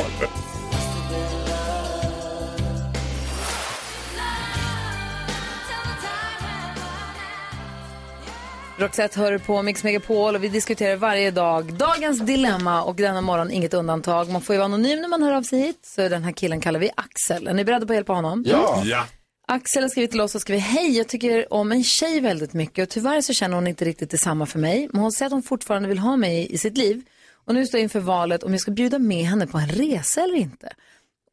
A: Roxette hör på Mix Megapol och vi diskuterar varje dag dagens dilemma och denna morgon inget undantag. Man får ju vara anonym när man hör av sig hit så den här killen kallar vi Axel. Är ni beredda på att hjälpa honom?
N: ja.
A: Axel har skrivit till oss och skrivit hej, jag tycker om en tjej väldigt mycket och tyvärr så känner hon inte riktigt detsamma för mig. Men hon säger att hon fortfarande vill ha mig i sitt liv och nu står jag inför valet om jag ska bjuda med henne på en resa eller inte.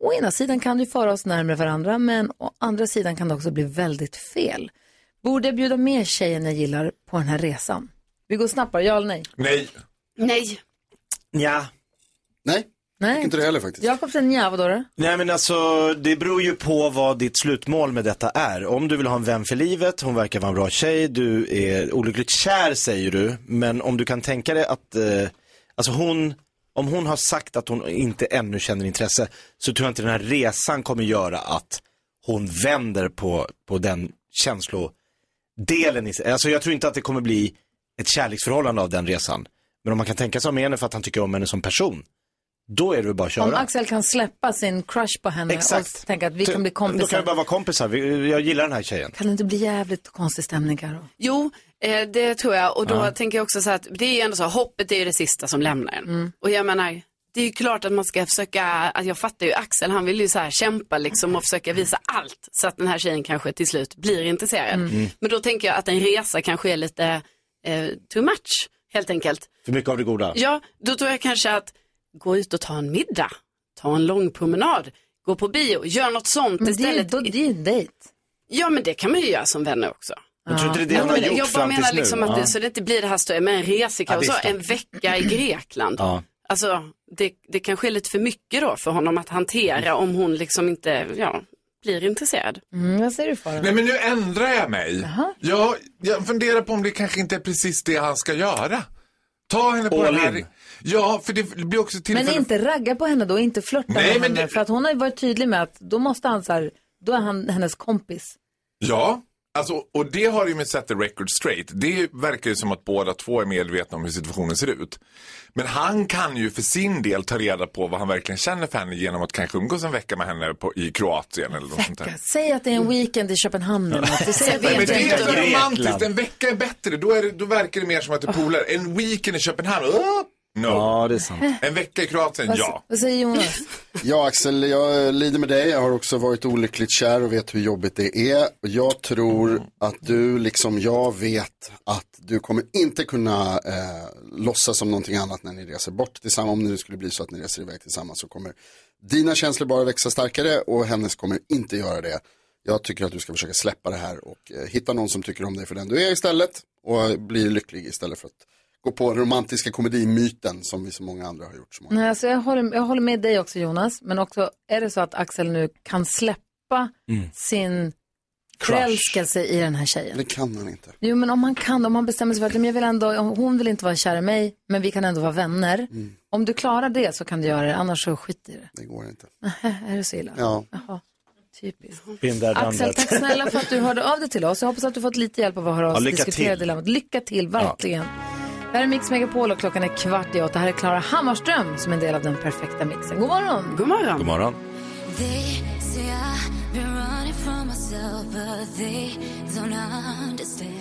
A: Å ena sidan kan det ju föra oss närmare varandra men å andra sidan kan det också bli väldigt fel. Borde jag bjuda med tjejen jag gillar på den här resan? Vi går snabbare, ja eller nej?
N: Nej.
D: Nej.
C: Ja.
E: Nej.
A: Nej.
E: Inte det heller faktiskt.
A: Jakob säger nja, vadå då?
C: Nej men alltså det beror ju på vad ditt slutmål med detta är. Om du vill ha en vän för livet, hon verkar vara en bra tjej, du är olyckligt kär säger du. Men om du kan tänka dig att, eh, alltså hon, om hon har sagt att hon inte ännu känner intresse så tror jag inte den här resan kommer göra att hon vänder på, på den känslodelen i sig. Alltså jag tror inte att det kommer bli ett kärleksförhållande av den resan. Men om man kan tänka sig med henne för att han tycker om henne som person, då är det väl bara att köra.
A: Om Axel kan släppa sin crush på henne och tänka att vi kan bli
C: Då kan
A: kompisar.
C: vi bara vara kompisar. Vi- Jag gillar den här tjejen.
A: Kan det inte bli jävligt konstig stämning Karo?
D: Jo, eh, det tror jag. Och då
C: Ja.
D: tänker jag också så här att det är ju ändå så, hoppet är ju det sista som lämnar en.
C: Mm.
D: Och jag menar, det är ju klart att man ska försöka, att jag fattar ju Axel, han vill ju så här kämpa liksom och försöka visa allt så att den här tjejen kanske till slut blir intresserad.
C: Mm.
D: Men då tänker jag att en resa kanske är lite eh, too much, helt enkelt.
C: För mycket av det goda.
D: Ja, då tror jag kanske att gå ut och ta en middag, ta en lång promenad, gå på bio, gör något sånt
A: Men det är ju-
D: istället.
A: då- det är ju en dejt.
D: Ja, men det kan man ju göra som vänner också.
C: Jag tror inte det är det han har
D: men
C: gjort
D: jag bara
C: fram
D: menar
C: tills
D: liksom
C: nu.
D: att
C: Ja.
D: det, så det inte blir det här stödet med en
C: Ja, det
D: resekausa,
C: är
D: en vecka i Grekland.
C: Ja.
D: Alltså, det, det kanske är lite för mycket då för honom att hantera om hon liksom inte, ja, blir intresserad.
A: Mm, vad säger du Farao?
N: Nej men nu ändrar jag mig. Jag, jag funderar på om det kanske inte är precis det han ska göra. Ta henne på
C: All
N: den här...
C: in.
N: Ja, för det blir också tillfälle...
A: Men inte ragga på henne då, inte flörta
N: Nej,
A: med
N: men
A: henne.
N: det-
A: För att hon har ju varit tydlig med att då måste han så här, då är han hennes kompis.
N: Ja, alltså, och det har ju med Set the Record Straight. Det verkar ju som att båda två är medvetna om hur situationen ser ut. Men han kan ju för sin del ta reda på vad han verkligen känner för henne genom att kanske umgås en vecka med henne på, i Kroatien eller något sånt där.
A: Säg att det är en weekend i Köpenhamn eller något. Du säger att det
N: Nej,
A: är Ah.
N: men
A: en
N: det är
A: weekend.
N: för romantiskt, en vecka är bättre. Då, är det, då verkar det mer som att det är polare. En weekend i Köpenhamn, oh, no.
C: Ja, det är sant.
N: En vecka i Kroatien,
A: Vad,
N: ja.
A: vad säger Jonas?
E: Ja, Axel, jag eh, lider med dig. Jag har också varit olyckligt kär och vet hur jobbigt det är. Och jag tror att du, liksom jag, vet att du kommer inte kunna eh, låtsas som någonting annat när ni reser bort tillsammans. Om det nu skulle bli så att ni reser iväg tillsammans så kommer dina känslor bara växa starkare och hennes kommer inte göra det. Jag tycker att du ska försöka släppa det här och eh, hitta någon som tycker om dig för den du är istället och bli lycklig istället för att gå på den romantiska komedimyten som vi så många andra har gjort. Så många
A: Nej, alltså jag, håller, jag håller med dig också Jonas, men också är det så att Axel nu kan släppa
C: Mm.
A: sin förälskelse i den här tjejen?
E: Det kan han inte.
A: Jo, men om han kan, om han bestämmer sig för att men jag vill ändå, hon vill inte vara kär i mig, men vi kan ändå vara vänner.
N: Mm.
A: Om du klarar det så kan du göra det, annars så skit i det.
E: Det går inte.
A: är det så illa?
E: Ja.
A: Jaha, typiskt.
C: Bindar
A: Axel,
C: bandet.
A: tack snälla för att du hörde av dig till oss. Jag hoppas att du fått lite hjälp av att höra
C: Ja,
A: oss
C: lycka
A: diskutera
C: till.
A: dilemmat. Lycka till, verkligen. Det här är Mix Megapol och klockan är kvart i åtta. Här är Klara Hammarström som är en del av den perfekta mixen. God morgon!
D: God morgon!
C: God morgon.
M: They say I Been running from myself, but they don't understand.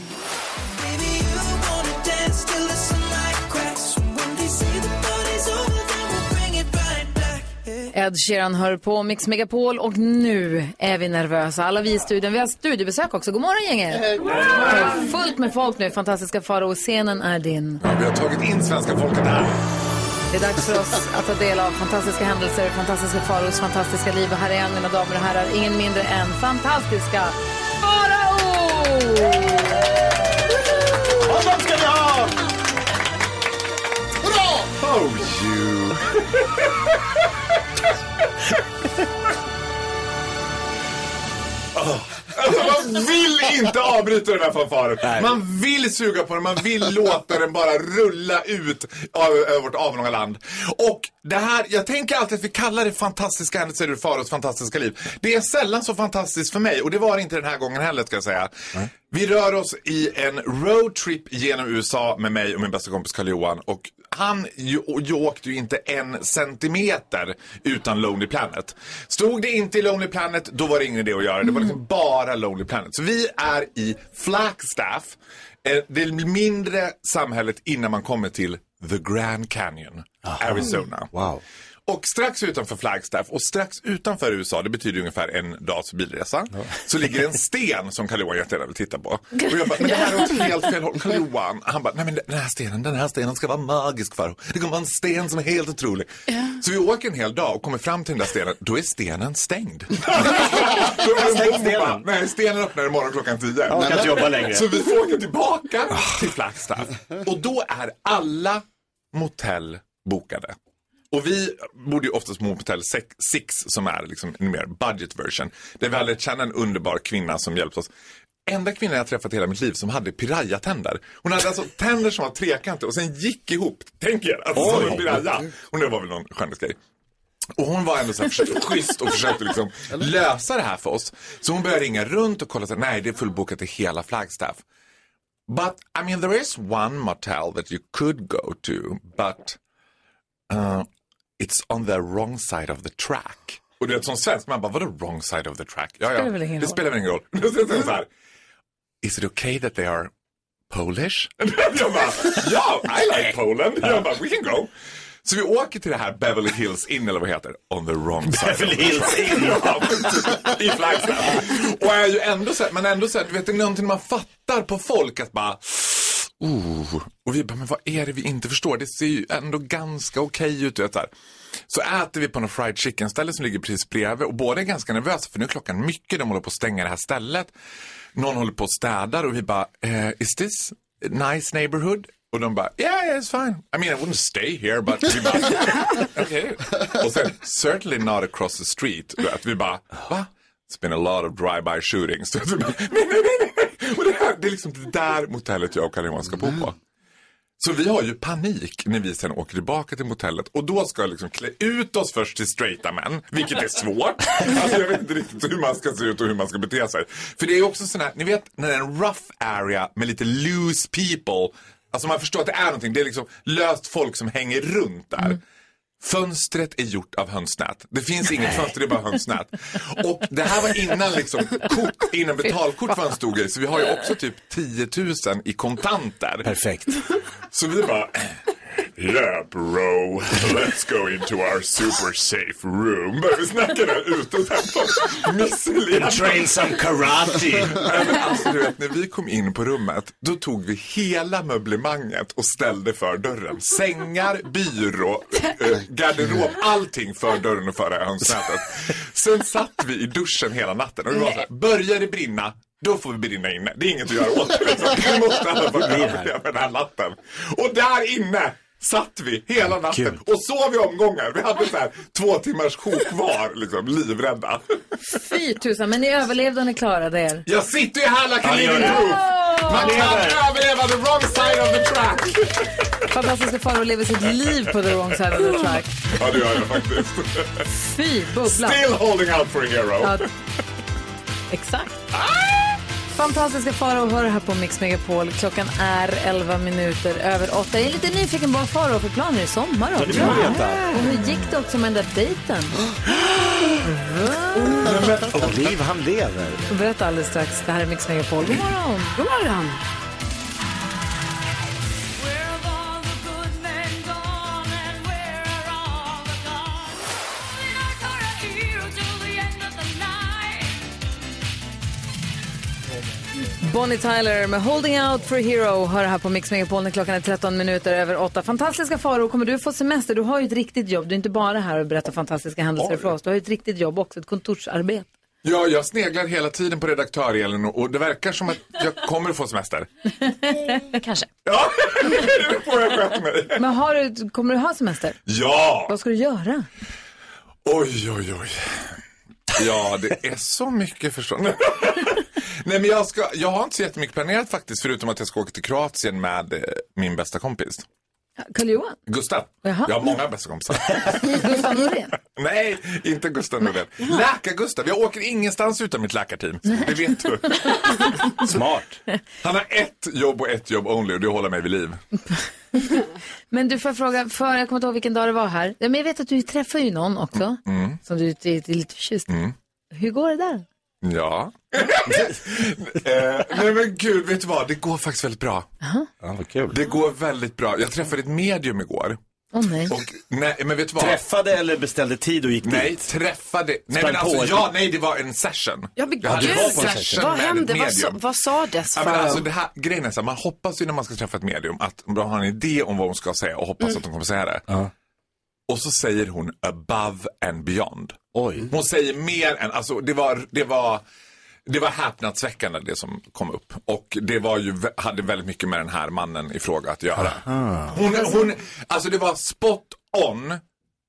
M: Baby, you wanna dance till the sunlight cracks. When they say the party's over, then we'll bring it right back.
A: Ed Sheeran hör på Mix Megapol och nu är vi nervösa. Alla vi i studion. Vi har studiebesök också. God morgon gänget!
M: Hej.
A: Det är fullt med folk nu. Fantastiska Farao, scenen är din.
N: Ja, vi har tagit in svenska folket här.
A: Det är dags för oss att ta del av fantastiska händelser, fantastiska Faraos fantastiska liv. Och här är han, mina damer och herrar, ingen mindre än fantastiska Farao!
M: Honom ska vi ha! Hurra!
N: Oh you! Oh. Alltså, man vill inte avbryta den här fanfaren. Man vill suga på den, man vill låta den bara rulla ut av- över vårt avlånga land. Och det här, jag tänker alltid att vi kallar det fantastiska händelser ur Faraos fantastiska liv. Det är sällan så fantastiskt för mig och det var det inte den här gången heller ska jag säga. Vi rör oss i en roadtrip genom USA med mig och min bästa kompis Karl-Johan och han ju, och jag åkte ju inte en centimeter utan Lonely Planet. Stod det inte i Lonely Planet, då var det ingen idé att göra. Det var liksom bara Lonely Planet. Så vi är i Flagstaff, eh, det mindre samhället innan man kommer till The Grand Canyon, Arizona. Wow. Och strax utanför Flagstaff och strax utanför USA, det betyder ungefär en dags bilresa, så ligger en sten som Karl-Johan jättegärna vill titta på. Och jag bara, men det här är åt helt fel håll. Karl-Johan, han bara, nej men den här stenen, den här stenen ska vara magisk för Det kommer vara en sten som är helt otrolig. Så vi åker en hel dag och kommer fram till den där stenen, då är stenen stängd. Då är den
M: Stäng
N: bomba.
M: stenen.
N: Nej, stenen öppnar imorgon klockan 10.
M: Ja, man kan inte jobba längre.
N: Så vi får åka tillbaka till Flagstaff. Och då är alla motell bokade. Och vi bodde ju oftast på Motell Sex- Six som är liksom en mer budget version. Där vi hade lärt känna en underbar kvinna som hjälpte oss. Enda kvinnan jag träffat i hela mitt liv som hade piraya-tänder. Hon hade alltså tänder som var trekantiga och sen gick ihop, tänk er, alltså som
M: Oj.
N: en piraya. Och det var väl någon skönhetsgrej. Och hon var ändå så här försökte, schysst och försökte liksom lösa det här för oss. Så hon började ringa runt och kolla så här, nej det är fullbokat i hela Flagstaff. But I mean there is one motel that you could go to but uh, it's on the wrong side of the track. Och du vet som svensk, man bara vadå wrong side of the track? Ja, ja,
M: Spelar väl ingen
N: det
M: roll.
N: spelar väl ingen roll. Då säger jag så här, is it okay that they are Polish? jag bara, ja, I like Poland. Jag bara, we can go. Så vi åker till det här Beverly Hills Inn eller vad det heter, on the wrong side.
M: Beverly Hills Inn.
N: Ja, precis. I Flagstaff. Och är ju ändå så här, men ändå så här, du vet det är någonting man fattar på folk att bara Oh. Och vi bara, men vad är det vi inte förstår? Det ser ju ändå ganska okej ut. Du vet, så, här. så äter vi på någon fried chicken ställe som ligger precis bredvid och båda är ganska nervösa för nu är klockan mycket, de håller på att stänga det här stället. Någon håller på att städar och vi bara, eh, is this a nice neighborhood? Och de bara, yeah, yeah, it's fine. I mean, I wouldn't stay here, but vi bara, okej. Och sen, certainly not across the street. Du vet, vi bara, va? It's been a lot of drive-by shootings. Du vet, vi bara, nej, nej, nej, nej. Och det, här, det är liksom det där motellet jag och Karl-Johan ska bo på. Så vi har ju panik när vi sen åker tillbaka till motellet och då ska jag liksom klä ut oss först till straighta män, vilket är svårt. Alltså jag vet inte riktigt hur man ska se ut och hur man ska bete sig. För det är ju också sån här, ni vet när det är en rough area med lite loose people, alltså man förstår att det är någonting, det är liksom löst folk som hänger runt där. Fönstret är gjort av hönsnät. Det finns inget fönster, det är bara hönsnät. Och det här var innan liksom kort, innan betalkort fanns stod i. Så vi har ju också typ 10 000 i kontanter. Perfekt. Så vi bara, yeah bro, let's go into our super safe room. Börjar vi snacka där ute och sen missilera.
M: Train some karate.
N: Nej, men alltså, du vet, när vi kom in på rummet, då tog vi hela möblemanget och ställde för dörren. Sängar, byrå, eh, garderob, allting för dörren och för hönsnätet. Sen satt vi i duschen hela natten och det var så här, börjar det brinna, då får vi brinna inne. Det är inget att göra åt det. liksom. Vi måste alla bara gå upp med den här natten. Och där inne satt vi hela natten och sov i omgångar. Vi hade så här två timmars sjok var, liksom, livrädda.
A: Fy tusan, men ni överlevde och ni klarade er.
N: Jag sitter ju här like a
M: Ja, gör
N: living
M: det.
N: proof. Man
M: Lever.
N: kan överleva the wrong side of the track.
A: Fantastiska Farao lever sitt liv på the wrong side of the track.
N: Ja, det gör jag faktiskt.
A: Fy, bubbla.
N: Still holding out for a
A: Ja,
N: hero.
A: Exakt. Ah! Fantastiska Farao hör här på Mix Megapol. Klockan är 11 minuter över 8. Jag är lite nyfiken på vad Farao har för planer i sommar. också.
M: Ja, det vill jag veta.
A: Och hur gick det också med den där dejten? Va?
C: Och liv han lever.
A: Berätta alldeles strax. Det här är Mix Megapol. God morgon! God morgon! Bonnie Tyler med Holding Out for a Hero hör här på Mix Megapol när klockan är 13 minuter över 8. Fantastiska faror, kommer du få semester? Du har ju ett riktigt jobb. Du är inte bara här och berättar fantastiska händelser för oss. Du har ju ett riktigt jobb också, ett kontorsarbete.
N: Ja, jag sneglar hela tiden på redaktör-Elin och och det verkar som att jag kommer att få semester.
G: Kanske.
N: Ja, det får jag sköta mig.
A: Men har du, kommer du ha semester?
N: Ja!
A: Vad ska du göra?
N: Oj, oj, oj. Ja, det är så mycket förstås. Nej, men jag, ska, jag har inte så jättemycket planerat faktiskt, förutom att jag ska åka till Kroatien med eh, min bästa kompis.
A: Karl-Johan?
N: Gustav.
A: Jaha.
N: Jag har många bästa kompisar.
A: Gustav Norén?
N: Nej, inte Gustav Norén. Läkar-Gustav. Jag åker ingenstans utan mitt läkarteam. Det vet du. Smart. Han har ett jobb och ett jobb only och det håller mig vid liv.
A: Men du, får jag fråga, för jag kommer inte ihåg vilken dag det var här. Ja, Men jag vet att du träffar ju någon också,
N: Mm.
A: som du är är lite förtjust i.
N: Mm.
A: Hur går det där?
N: Ja. eh, nej men gud, vet du vad? Det går faktiskt väldigt bra. Ja, vad kul. Det går väldigt bra. Jag träffade ett medium igår.
A: Åh nej.
N: Nej, men vet du vad?
C: Träffade eller beställde tid och gick
N: nej,
C: dit?
N: träffade. Nej,
C: Sprang
N: men alltså,
C: på ett-
N: ja, nej, det var en session.
D: Ja, men
N: Jag hade
D: gud.
N: varit på en session
D: Vad
N: med ett
D: hände? Vad, sa-
N: medium.
D: vad sades?
N: Ja, men
D: för-
N: alltså det här, grejen är så här, man hoppas ju när man ska träffa ett medium att man har en idé om vad hon ska säga och hoppas
D: Mm.
N: att hon kommer säga det. Och så säger hon above and beyond. Oj. Hon säger mer än, alltså det var, det var, det var häpnadsväckande det som kom upp. Och det var ju, hade väldigt mycket med den här mannen i fråga att göra. Hon, hon, alltså det var spot on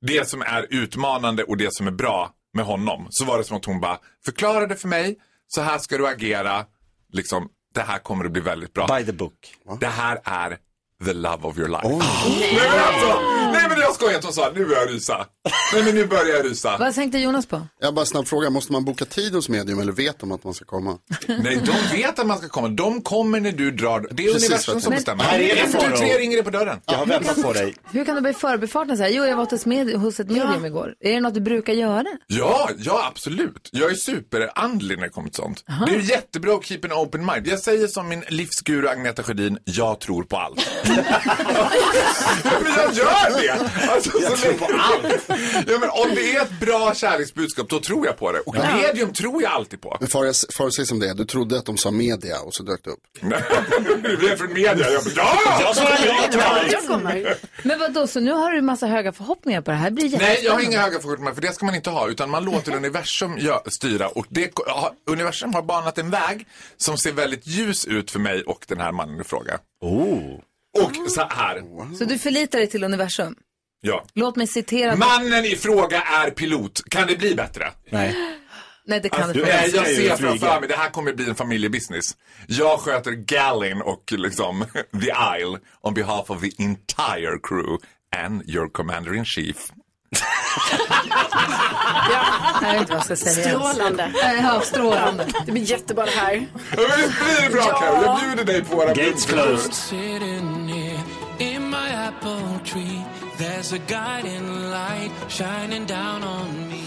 N: det som är utmanande och det som är bra med honom. Så var det som att hon bara förklarade för mig, så här ska du agera, liksom det här kommer att bli väldigt bra. By the book. Det här är the love of your life. Nej, men alltså, nej men jag skojar inte, hon sa nu börjar jag rysa. Nej men nu börjar jag rysa.
A: Vad tänkte Jonas på?
E: Jag bara snabb fråga, måste man boka tid hos medium eller vet de att man ska komma?
N: Nej, de vet att man ska komma. De kommer när du drar. Det är
E: Precis,
N: universum
E: vet
N: som
E: jag.
N: bestämmer.
E: Men- Här är det
N: Efter
E: Farao.
N: tre ringer det på dörren.
E: Jag har väntat på dig.
A: Hur kan du bli förbifarten så här? Jo, jag var hos, med, hos ett medium igår. Är det något du brukar göra?
N: Ja, ja absolut. Jag är superandlig när det kommer till sånt. Det är ju jättebra att keep an open mind. Jag säger som min livsguru Agneta Sjödin, jag tror på allt. men jag gör det! Alltså, jag tror på allt. ja, men om det är ett bra kärleksbudskap, då tror jag på det. Och medium tror jag alltid på.
E: Men får jag säga som det är, du trodde att de sa media och så dök det upp.
N: det blev från media. Jag bara, ja!
E: Jag sa ja till allt.
A: Jag kommer. Men vadå, så nu har du massa höga förhoppningar på det här? Det blir
N: Nej, jag har
A: jättespännande.
N: inga höga förhoppningar för det ska man inte ha utan man låter universum gö- styra och det, ja, universum har banat en väg som ser väldigt ljus ut för mig och den här mannen i fråga. Oh. Och så här,
A: Så du förlitar dig till universum?
N: ja.
A: Låt mig citera...
N: Mannen i fråga är pilot, kan det bli bättre? Nej.
A: Nej, det kan
N: Alltså,
A: du
N: nej,
A: inte.
N: jag ser framför mig, det här kommer bli en familjebusiness. Jag sköter Gallin och liksom The Isle on behalf of the entire crew and your commander in chief.
A: Jag vet inte vad jag ska säga.
D: Strålande.
A: Ja, strålande.
D: Ja, Det blir jättebra det här.
N: Ja, men det blir bra
D: Ja.
N: Carro, jag bjuder dig på våra
C: Gates
N: blommor.
C: closed.
M: Sitting here in my apple tree, there's a guiding light shining down on me.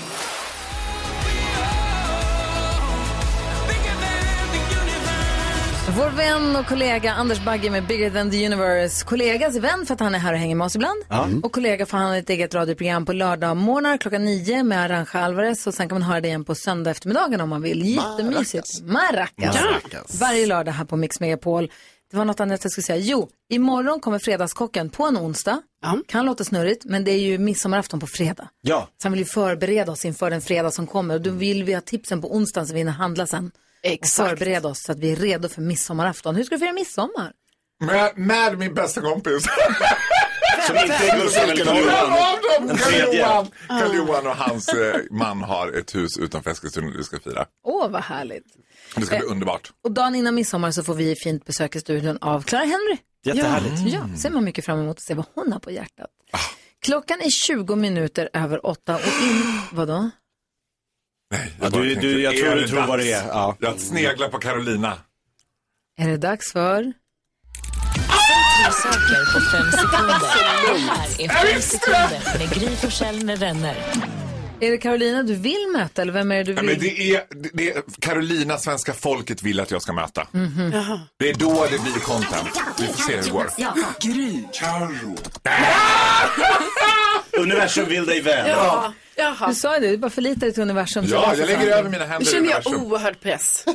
A: Vår vän och kollega Anders Bagge med Bigger than the universe. Kollegas vän för att han är här och hänger med oss ibland.
M: Ja.
A: Och kollega för han har ett eget radioprogram på lördagmorgnar klockan nio med Arantxa Alvarez. Och sen kan man höra det igen på söndag eftermiddagen om man vill. Jättemysigt. Maracas.
M: Maracas.
A: Varje lördag här på Mix Megapol. Det var något annat jag skulle säga. Jo, imorgon kommer Fredagskocken på en onsdag. Kan låta snurrigt, men det är ju midsommarafton på fredag.
C: Ja.
A: Så han vill ju förbereda oss inför den fredag som kommer. Och då vill vi ha tipsen på onsdagen så vi hinner handla sen. Exakt. Och förbereda oss så att vi är redo för midsommarafton. Hur ska du fira midsommar?
N: Med, med min bästa kompis.
M: Som inte är Gustav eller Karl Johan. Den tredje.
N: Karl-Johan.
M: Ah.
N: Karl-Johan och hans eh, man har ett hus utanför Eskilstuna där vi ska fira.
A: Åh, vad härligt.
N: Det ska bli
A: Eh.
N: underbart.
A: Och dagen innan midsommar så får vi fint besök i studion av Clara Henry.
N: Jättehärligt.
A: Ja, ja ser man mycket fram emot att se vad hon har på hjärtat. Klockan är 20 minuter över åtta och in... Vadå?
N: Jag,
C: du-
N: bara
C: du- jag
N: är
C: tror du
N: det
C: tror vad det
N: dags?
C: är, ja.
N: Jag sneglar på Carolina.
A: Är det dags för...
B: Tre saker på fem sekunder. Det här är
M: Jag
B: Fem
M: visste
B: sekunder med Gry Forssell med vänner.
A: Är det Carolina du vill möta eller vem är det du
N: Ja,
A: vill?
N: men det är, det- det är Carolina, svenska folket vill att jag ska möta.
A: Mhm.
N: Det är då det blir content. Vi får se hur det går.
M: Gry.
N: Carro.
C: Universum vill dig väl.
D: Ja. Jaha.
A: Du sa det, du bara förlitar dig till universum.
C: Ja,
A: Så-
C: jag lägger över mina händer
D: Nu känner jag
C: universum.
D: oerhörd press.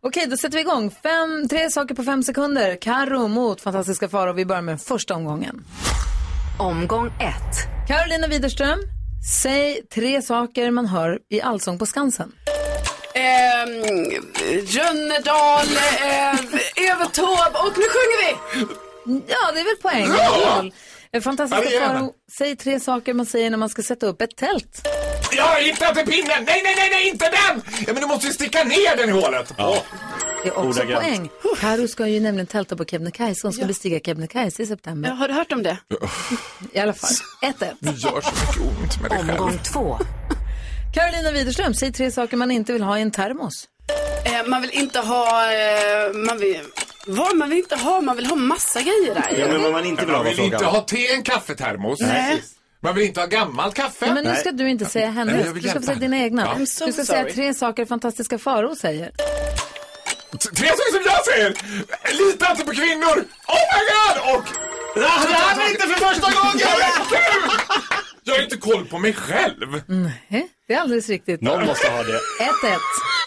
A: Okej, då sätter vi igång. Fem, tre saker på fem sekunder. Karo mot Fantastiska Farao. Vi börjar med den första omgången. Omgång ett. Carolina Widerström, säg tre saker man hör i Allsång på Skansen.
D: Ehm, Rönnedal, eh, Övertorp och nu sjunger vi!
A: Ja, det är väl poäng.
D: Ja!
A: Kul. Eh, Fantastiska
D: Ja, igen.
A: Farao, säg tre saker man säger när man ska sätta upp ett tält.
N: Jag har hittat en pinne! Nej, nej, nej, nej, inte den! Ja, men du måste ju sticka ner den i hålet. Ja.
A: Det är också poäng. Karo ska ju nämligen tälta på Kebnekaise. Hon ska bestiga Kebnekaise i september.
D: Ja, har du hört om det?
A: I alla fall, 1-1.
N: Det gör så mycket ont med dig själv.
A: Omgång två. Carolina Widerström, säg tre saker man inte vill ha i en termos.
D: Eh, man vill inte ha, eh, man vill, vad man vill inte ha, man vill ha massa grejer där.
N: Ja, men vad
C: man inte
N: vill
C: ha,
N: Man
C: var
N: vill
C: frågan.
N: inte ha te i en kaffetermos.
A: Nej.
N: Man vill inte ha gammalt kaffe.
A: men nu ska du inte säga hennes.
N: Nej, jag vill
A: du ska få
N: hjälpa
A: säga dina egna.
N: Ja.
A: Du ska säga tre saker fantastiska faror säger.
N: Tre saker som jag säger! Lita inte på kvinnor! Oh my god! Och... Det
M: här är inte för första gången!
N: Jag har inte koll på mig själv.
A: Nej, det är alldeles riktigt.
N: Någon måste ha det.
A: 1-1.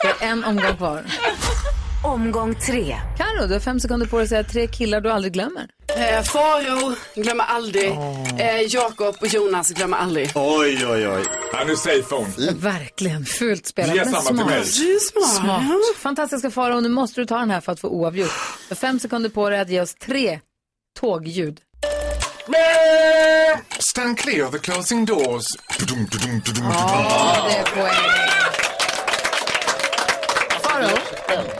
A: Det är en omgång kvar. Omgång tre. Karo, du har fem sekunder på dig att säga tre killar du aldrig glömmer.
D: Eh, Faro glömmer aldrig, eh, Jakob och Jonas glömmer aldrig.
C: Oj, oj, oj.
N: Ja, nu safe hon.
A: Verkligen fult spelat.
N: Ge
A: men
N: samma till
A: smart.
N: mig. Du är
D: smart.
A: Fantastiska Farao, nu måste du ta den här för att få oavgjort. Du har fem sekunder på dig att ge oss tre tågljud.
N: Stand clear of the closing doors. Dudum, dudum, dudum,
A: Ja,
N: dudum.
A: det är poäng. Farao,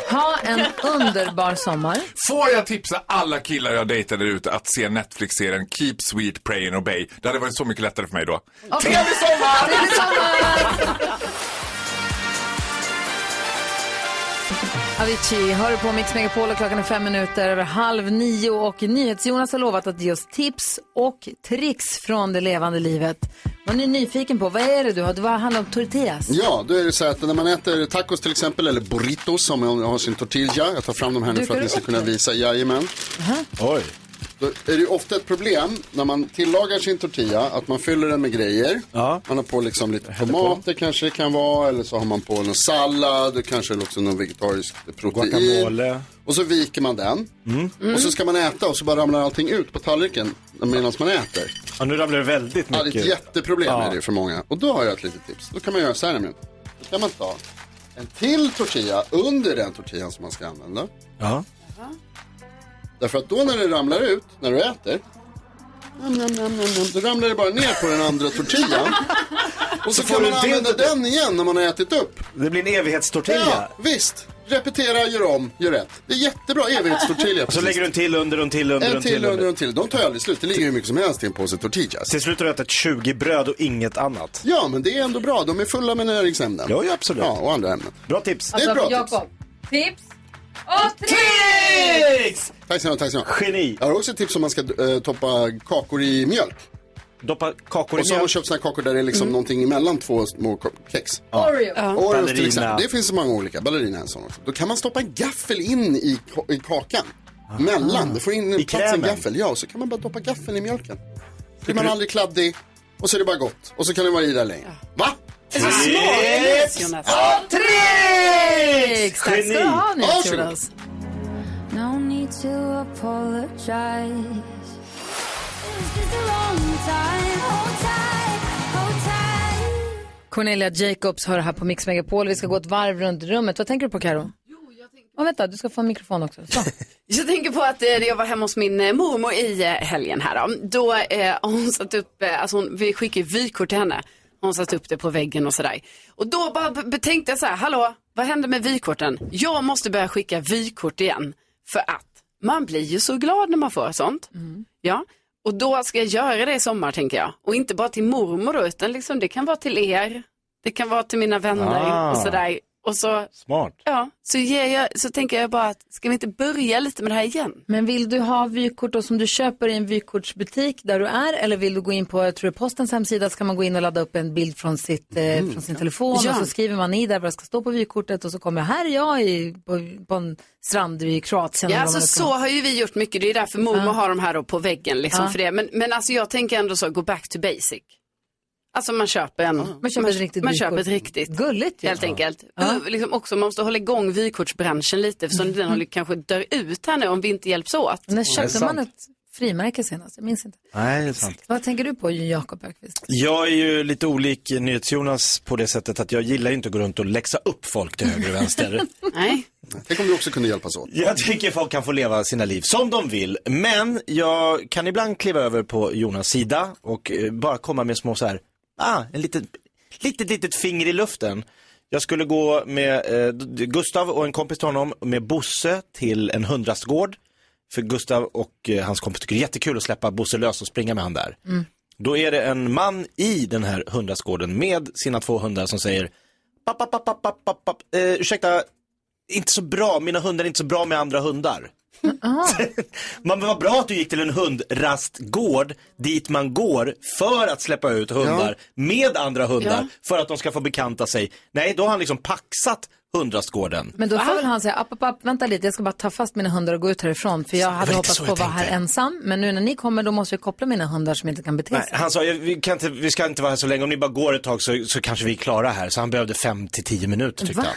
A: ha en underbar sommar.
N: Får jag tipsa alla killar jag dejtar där ute att se Netflix-serien Keep Sweet, Pray and Obey? Det hade varit så mycket lättare för mig då. Trevlig sommar!
M: Trevlig
A: Avicii hör på Mix Megapol och klockan är fem minuter över halv nio och NyhetsJonas har lovat att ge oss tips och tricks från det levande livet. Man är nyfiken på, vad är det du har? Det var- handlar om tortillas.
E: Ja, då är det så att när man äter tacos till exempel, eller burritos som jag har sin tortilla. Jag tar fram de här nu
A: Dukar
E: för att
A: du
E: ni ska
A: upp
E: kunna
A: det?
E: visa. Jajamän. Oj. Då är det ju ofta ett problem när man tillagar sin tortilla att man fyller den med grejer. Man har på liksom lite tomater kanske det kan vara eller så har man på någon sallad och kanske också någon vegetarisk protein.
C: Guacamole. Mm.
E: Och så viker man den. Och så ska man äta och så bara ramlar allting ut på tallriken medan man äter.
C: Ja, nu ramlar det väldigt
E: Ja,
C: mycket.
E: det är ett jätteproblem
C: Ja.
E: är det ju för många. Och då har jag ett litet tips. Då kan man göra så här nämligen. Då kan man ta en till tortilla under den tortillan som man ska använda.
C: Ja.
E: Därför att då när det ramlar ut, när du äter, nam, nam, nam, nam, nam, då ramlar det bara ner på den andra tortillan. Och så,
C: Så får
E: kan man
C: du det-
E: använda den igen när man har ätit upp.
C: Det blir en evighetstortilla.
E: Ja, visst. Repetera, gör om, gör rätt. Det är jättebra evighetstortilla.
C: Och så lägger du en till under och en till under och
E: en
C: en
E: till under och en till. De tar ju aldrig slut. Det ligger hur mycket som helst i en påse tortillas.
C: Till slut har du ätit 20 bröd och inget annat.
E: Ja, men det är ändå bra. De är fulla med näringsämnen.
C: Ja, ja, absolut.
E: Ja, och andra ämnen.
C: Bra tips.
O: Alltså,
E: Det är ett bra tips.
A: Alltså, Jakob, tips och
C: tricks!
E: Tack snälla, tack snälla.
C: Geni.
E: Jag har också ett tips om man ska eh, toppa kakor i mjölk.
C: Doppa kakor i
E: Och så har
C: mjölk.
E: man
C: Mm.
E: köpt såna här kakor där det är liksom någonting emellan två små ko- kex.
C: Ja.
A: Oreo.
E: Ja. Oreos till
C: Ballerina.
E: exempel. Det finns så många olika. Ballerina är en sån också. Då kan man stoppa en gaffel in i, ka- i kakan. Mellan. Du får in en plats en
C: Ah. krämen.
E: gaffel. Ja, och så kan man bara doppa gaffeln i mjölken. Då blir man aldrig kladdig. Och så är det bara gott. Och så kan det vara i där länge. Va?
D: Tips Jonas.
E: och
A: tricks! Tack ska du ha,
E: Geni.
A: NyhetsJonas.
M: No need to apologize. It's been a long time. Hold tight, hold tight.
A: Cornelia Jacobs hör här på Mix Megapol. Vi ska gå ett varv runt rummet. Vad tänker du på Karo? Jo, jag tänker... Oh, vänta, du ska få en mikrofon också. Så.
D: Jag tänker på att eh, när jag var hemma hos min eh, mormor i eh, helgen här då. Då eh, har hon satt upp, eh, alltså hon, vi skickar vykort till henne. Hon satt upp det på väggen och sådär. Och då bara b- betänkte jag så här, hallå, vad händer med vykorten? Jag måste börja skicka vykort igen. För att man blir ju så glad när man får sånt. Ja, och då ska jag göra det i sommar tänker jag. Och inte bara till mormor då, utan liksom, det kan vara till er. Det kan vara till mina vänner
M: Ah.
D: och sådär. Och så,
C: Smart.
D: ja, så, ger jag, så tänker jag bara att ska vi inte börja lite med det här igen?
A: Men vill du ha vykort då som du köper i en vykortsbutik där du är eller vill du gå in på, jag tror det är postens hemsida, så kan man gå in och ladda upp en bild från, sitt, eh, från sin telefon
D: Mm. Ja.
A: och så skriver man i där vad det ska stå på vykortet och så kommer här är jag i, på, på en strand i Kroatien.
D: Ja,
A: eller vad
D: alltså,
A: det ska
D: så
A: vara.
D: har ju vi gjort mycket. Det är därför mormor
A: Ja.
D: har de här då på väggen. Liksom,
A: Ja.
D: för det. Men, men alltså, jag tänker ändå så, go back to basic. Alltså man köper en...
A: Man köper ett riktigt
D: Man
A: vykort.
D: köper ett riktigt.
A: Gulligt ju.
D: Helt enkelt. Och Liksom också, man måste hålla igång vykortsbranschen lite eftersom den håller, kanske dör ut här nu om vi inte hjälps åt.
A: När Mm. köpte man ett frimärke senast? Jag minns inte.
C: Nej, det är sant.
A: Vad tänker du på, Jakob Bergqvist?
C: Jag är ju lite olik NyhetsJonas på det sättet att jag gillar ju inte att gå runt och läxa upp folk till höger och vänster.
D: Nej.
E: Tänk om vi också kunde hjälpas åt.
C: Jag tycker folk kan få leva sina liv som de vill, men jag kan ibland kliva över på Jonas sida och eh, bara komma med små så här, ah, en litet, litet, litet finger i luften. Jag skulle gå med eh, Gustav och en kompis till honom, med Bosse till en hundrastgård. För Gustav och eh, hans kompis tycker det är jättekul att släppa Bosse lös och springa med han där. Då är det en man i den här hundrastgården med sina två hundar som säger papp, papp, papp, papp, papp, papp, papp. Eh, ursäkta, inte så bra, mina hundar är inte så bra med andra hundar. man var bra att du gick till en hundrastgård dit man går för att släppa ut hundar med andra hundar
A: Ja.
C: för att de ska få bekanta sig. Nej, då har han liksom paxat hundrastgården.
A: Men då får väl han säga, app, app, app, vänta lite, jag ska bara ta fast mina hundar och gå ut härifrån. För jag
C: var
A: hade
C: lite
A: hoppats
C: så
A: på
C: jag
A: att vara här
C: tänkte.
A: ensam, men nu när ni kommer då måste jag koppla mina hundar som inte kan bete
C: Nej,
A: sig.
C: han sa, "Jag- vi, kan inte, vi ska inte vara här så länge, om ni bara går ett tag så, så kanske vi är klara här. Så han behövde fem till tio minuter tyckte
A: Va?
C: han.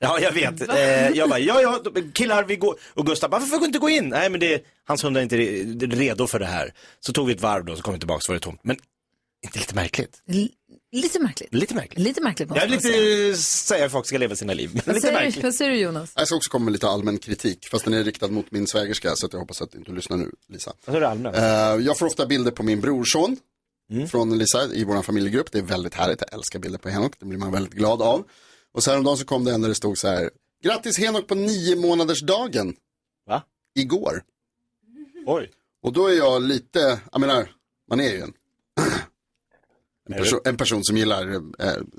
C: Ja, jag vet. Eh, jag bara, ja, ja, då- killar, vi går. Och Gustav bara, varför får vi inte gå in? Nej, men det, hans hund är inte re- redo för det här. Så tog vi ett varv då, så kom vi tillbaka så var det tomt. Men inte lite märkligt?
A: L- lite märkligt.
C: Lite märkligt.
A: Lite märkligt
C: Jag
A: måste
C: vill
A: man
C: inte
A: säga.
C: säga att folk ska leva sina liv, men
A: Vad
C: lite
A: säger,
C: märkligt.
A: vad säger du Jonas?
E: Alltså, Jag ska också komma med lite allmän kritik, fast den är riktad mot min svägerska, så att jag hoppas att du inte lyssnar nu, Lisa.
C: Vad sa du Alltså, allmänt? Mm.
E: Eh, jag får ofta bilder på min brorson från Lisa i vår familjegrupp. Det är väldigt härligt, jag älskar bilder på Henok, det blir man väldigt glad av. Och så häromdagen så kom det en där det stod så här, grattis Henok på nio månadersdagen.
C: Va?
E: Igår.
C: Oj.
E: Och då är jag lite, jag menar, man är ju en, en, perso- en person som gillar eh,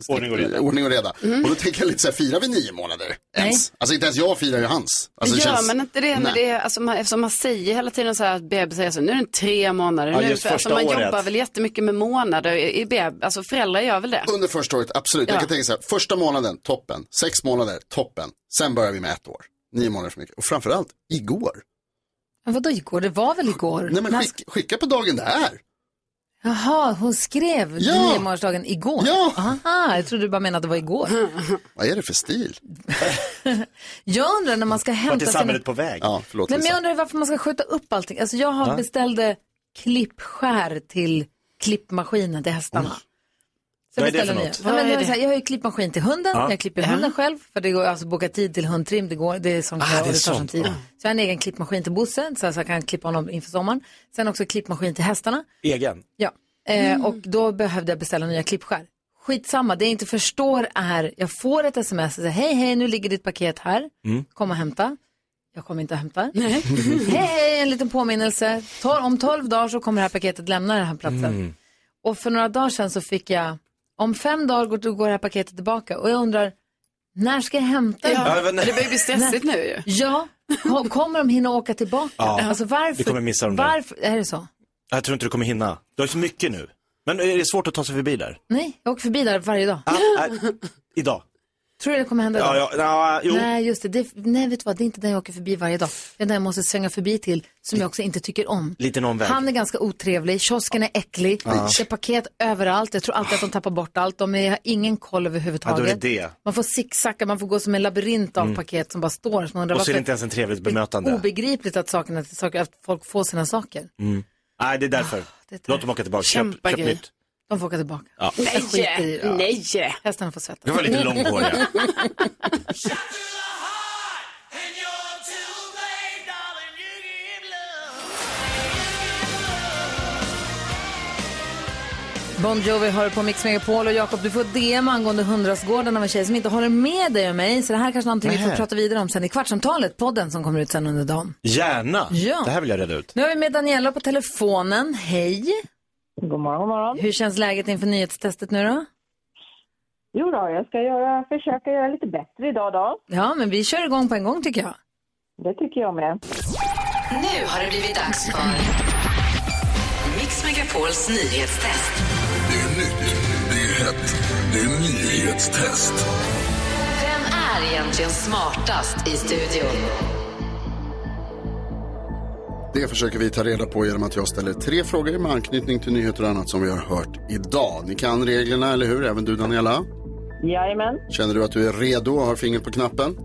C: Ordning och reda.
E: ordning och reda.
D: Mm.
E: Och då tänker jag lite så här, firar vi nio månader? Ens? Alltså inte ens jag firar ju hans. Alltså,
D: Gör
E: känns-
D: man inte det när
E: Nej.
D: det är, alltså man, eftersom man säger hela tiden så här att bebisar säger så, nu är den tre månader,
E: Ja,
D: nu är det
E: just
D: så här." alltså
E: första
D: man
E: året.
D: jobbar väl jättemycket med månader i, i beb, alltså föräldrar gör väl det?
E: Under första året, absolut.
D: Ja.
E: Jag kan tänka så här, första månaden, toppen. Sex månader, toppen. Sen börjar vi med ett år. Nio månader för mycket. Och framförallt, igår.
A: Men vadå igår? Det var väl igår?
E: Nej, men
A: När-
E: skick, skicka på dagen det är.
A: Jaha, hon skrev
E: Ja.
A: niomånadersdagen igår?
E: Ja.
A: Aha, jag trodde du bara menade att det var igår.
E: Vad är det för stil?
A: Jag undrar när man ska hämta sina...
C: på väg?
E: Ja, förlåt
A: Nej, men
E: Lisa.
A: jag undrar varför man ska skjuta upp allting. Alltså jag har
E: Va?
A: beställde klippskär till klippmaskinen till hästarna. Så
M: Vad är det
A: beställde
M: för
A: nya.
M: något?
A: Ja,
M: Vad
A: men
M: är
A: jag,
M: det?
A: så här, jag har ju klippmaskin till hunden,
M: Ja.
A: jag klipper
M: Ja.
A: hunden själv. För det går alltså boka tid till hundtrim, det, går, det är som
M: Ah,
A: kö och det
M: det är
A: tar som
M: sånt.
A: tid.
M: Ah.
A: Så jag har en egen klippmaskin till Bosse, så jag så jag kan klippa honom inför sommaren. Sen också klippmaskin till hästarna.
C: Egen.
A: Ja,
M: Mm.
A: eh, och då behövde jag beställa nya klippskär. Skitsamma, det jag inte förstår är, jag får ett sms och säger hej hej nu ligger ditt paket här,
M: Mm.
A: kom och hämta. Jag kommer inte att hämta. Nej. hej hej, en liten påminnelse. Tor- om 12 dagar så kommer det här paketet lämna den här platsen. Och för några dagar sedan så fick jag, om fem dagar går, då går det här paketet tillbaka och jag undrar, när ska jag hämta det?
C: Ja, men- Det börjar bli stressigt
A: När-
C: nu ju.
A: Ja, ko- kommer de hinna åka tillbaka?
C: Ja,
A: alltså varför?
C: vi kommer missa dem där.
A: varför, är det så?
C: Jag tror inte du kommer hinna. Du har så mycket nu. Men är det svårt att ta sig förbi där? Ah,
A: Nej, jag åker förbi där varje dag.
C: Idag?
A: Tror du det kommer hända
C: Ja,
A: då?
C: ja, ja, jo.
A: Nej, just det. det. Nej, vet du vad? Det är inte den jag åker förbi varje dag. Det är den jag måste svänga förbi till, som jag också inte tycker om.
C: Liten omväg.
A: Han är ganska otrevlig, kiosken är äcklig,
C: Ja.
A: det är paket överallt, jag tror alltid att de tappar bort allt, de är, har ingen koll
C: Ja, då är det
A: överhuvudtaget.
C: det.
A: Man får zigzacka, man får gå som en labyrint av
C: Mm.
A: paket som bara står. Så man undrar
C: Och så är det
A: varför
C: inte ens en trevligt bemötande.
A: obegripligt att, sakerna, saker, att folk får sina saker.
C: Mm. Nej, det är därför. Låt dem åka tillbaka. Köp,
A: Kämpa
C: köp
A: grej.
C: nytt.
A: De får åka tillbaka.
C: Ja.
A: Jag skiter i det.
D: Ja. Nej.
A: Hästarna får svettas.
C: Det var lite långhåriga.
A: Bon Jovi hör på Mix Megapol och Jakob, du får DM angående hundrastgården av en tjej som inte håller med dig och mig. Så det här kanske är någonting vi
C: Nähä.
A: får prata vidare om sen i Kvartsamtalet, podden som kommer ut sen under dagen.
C: Gärna.
A: Ja.
C: Det här vill jag reda ut.
A: Nu har vi med Daniela på telefonen. Hej! God morgon, Hur känns läget inför nyhetstestet nu då?
P: Jo då, jag ska göra, försöka göra lite bättre idag då.
A: Ja, men vi kör igång på en gång tycker jag.
P: Det tycker jag med.
B: Nu har det blivit dags för Mix Megapols nyhetstest.
M: Det är nytt, det är hett, det är nyhetstest.
B: Vem är egentligen smartast i studion?
E: Det försöker vi ta reda på genom att jag ställer tre frågor med anknytning till nyheter och annat som vi har hört idag. Ni kan reglerna, eller hur? Även du, Daniela?
P: Jajamän.
E: Känner du att du är redo och har fingret på knappen?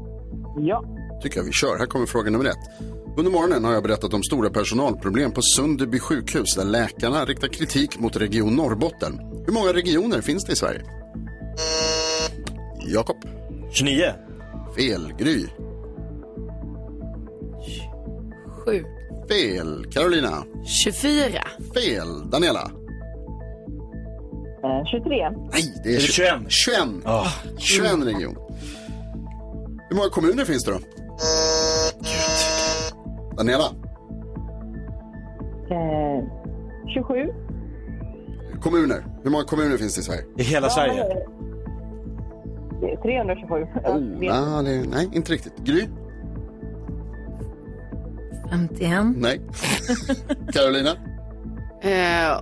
P: Ja.
E: tycker jag vi kör. Här kommer fråga nummer ett. Under morgonen har jag berättat om stora personalproblem på Sunderby sjukhus där läkarna riktar kritik mot Region Norrbotten. Hur många regioner finns det i Sverige? Jakob?
C: 29.
E: Fel. Gry?
A: Sju.
E: Fel. Carolina?
D: 24.
E: Fel. Daniela?
P: 23.
E: Nej, det Ah. är, 21. 21. 21 region. Hur många kommuner finns det då? Daniela?
P: Eh, 27.
E: Kommuner. Hur många kommuner finns det i Sverige? I hela
P: Det är 327. Ja,
E: Oh.
P: det är-
E: Ja, det, nej, inte riktigt. Gry?
A: 51.
E: Nej. Carolina?
D: Eh,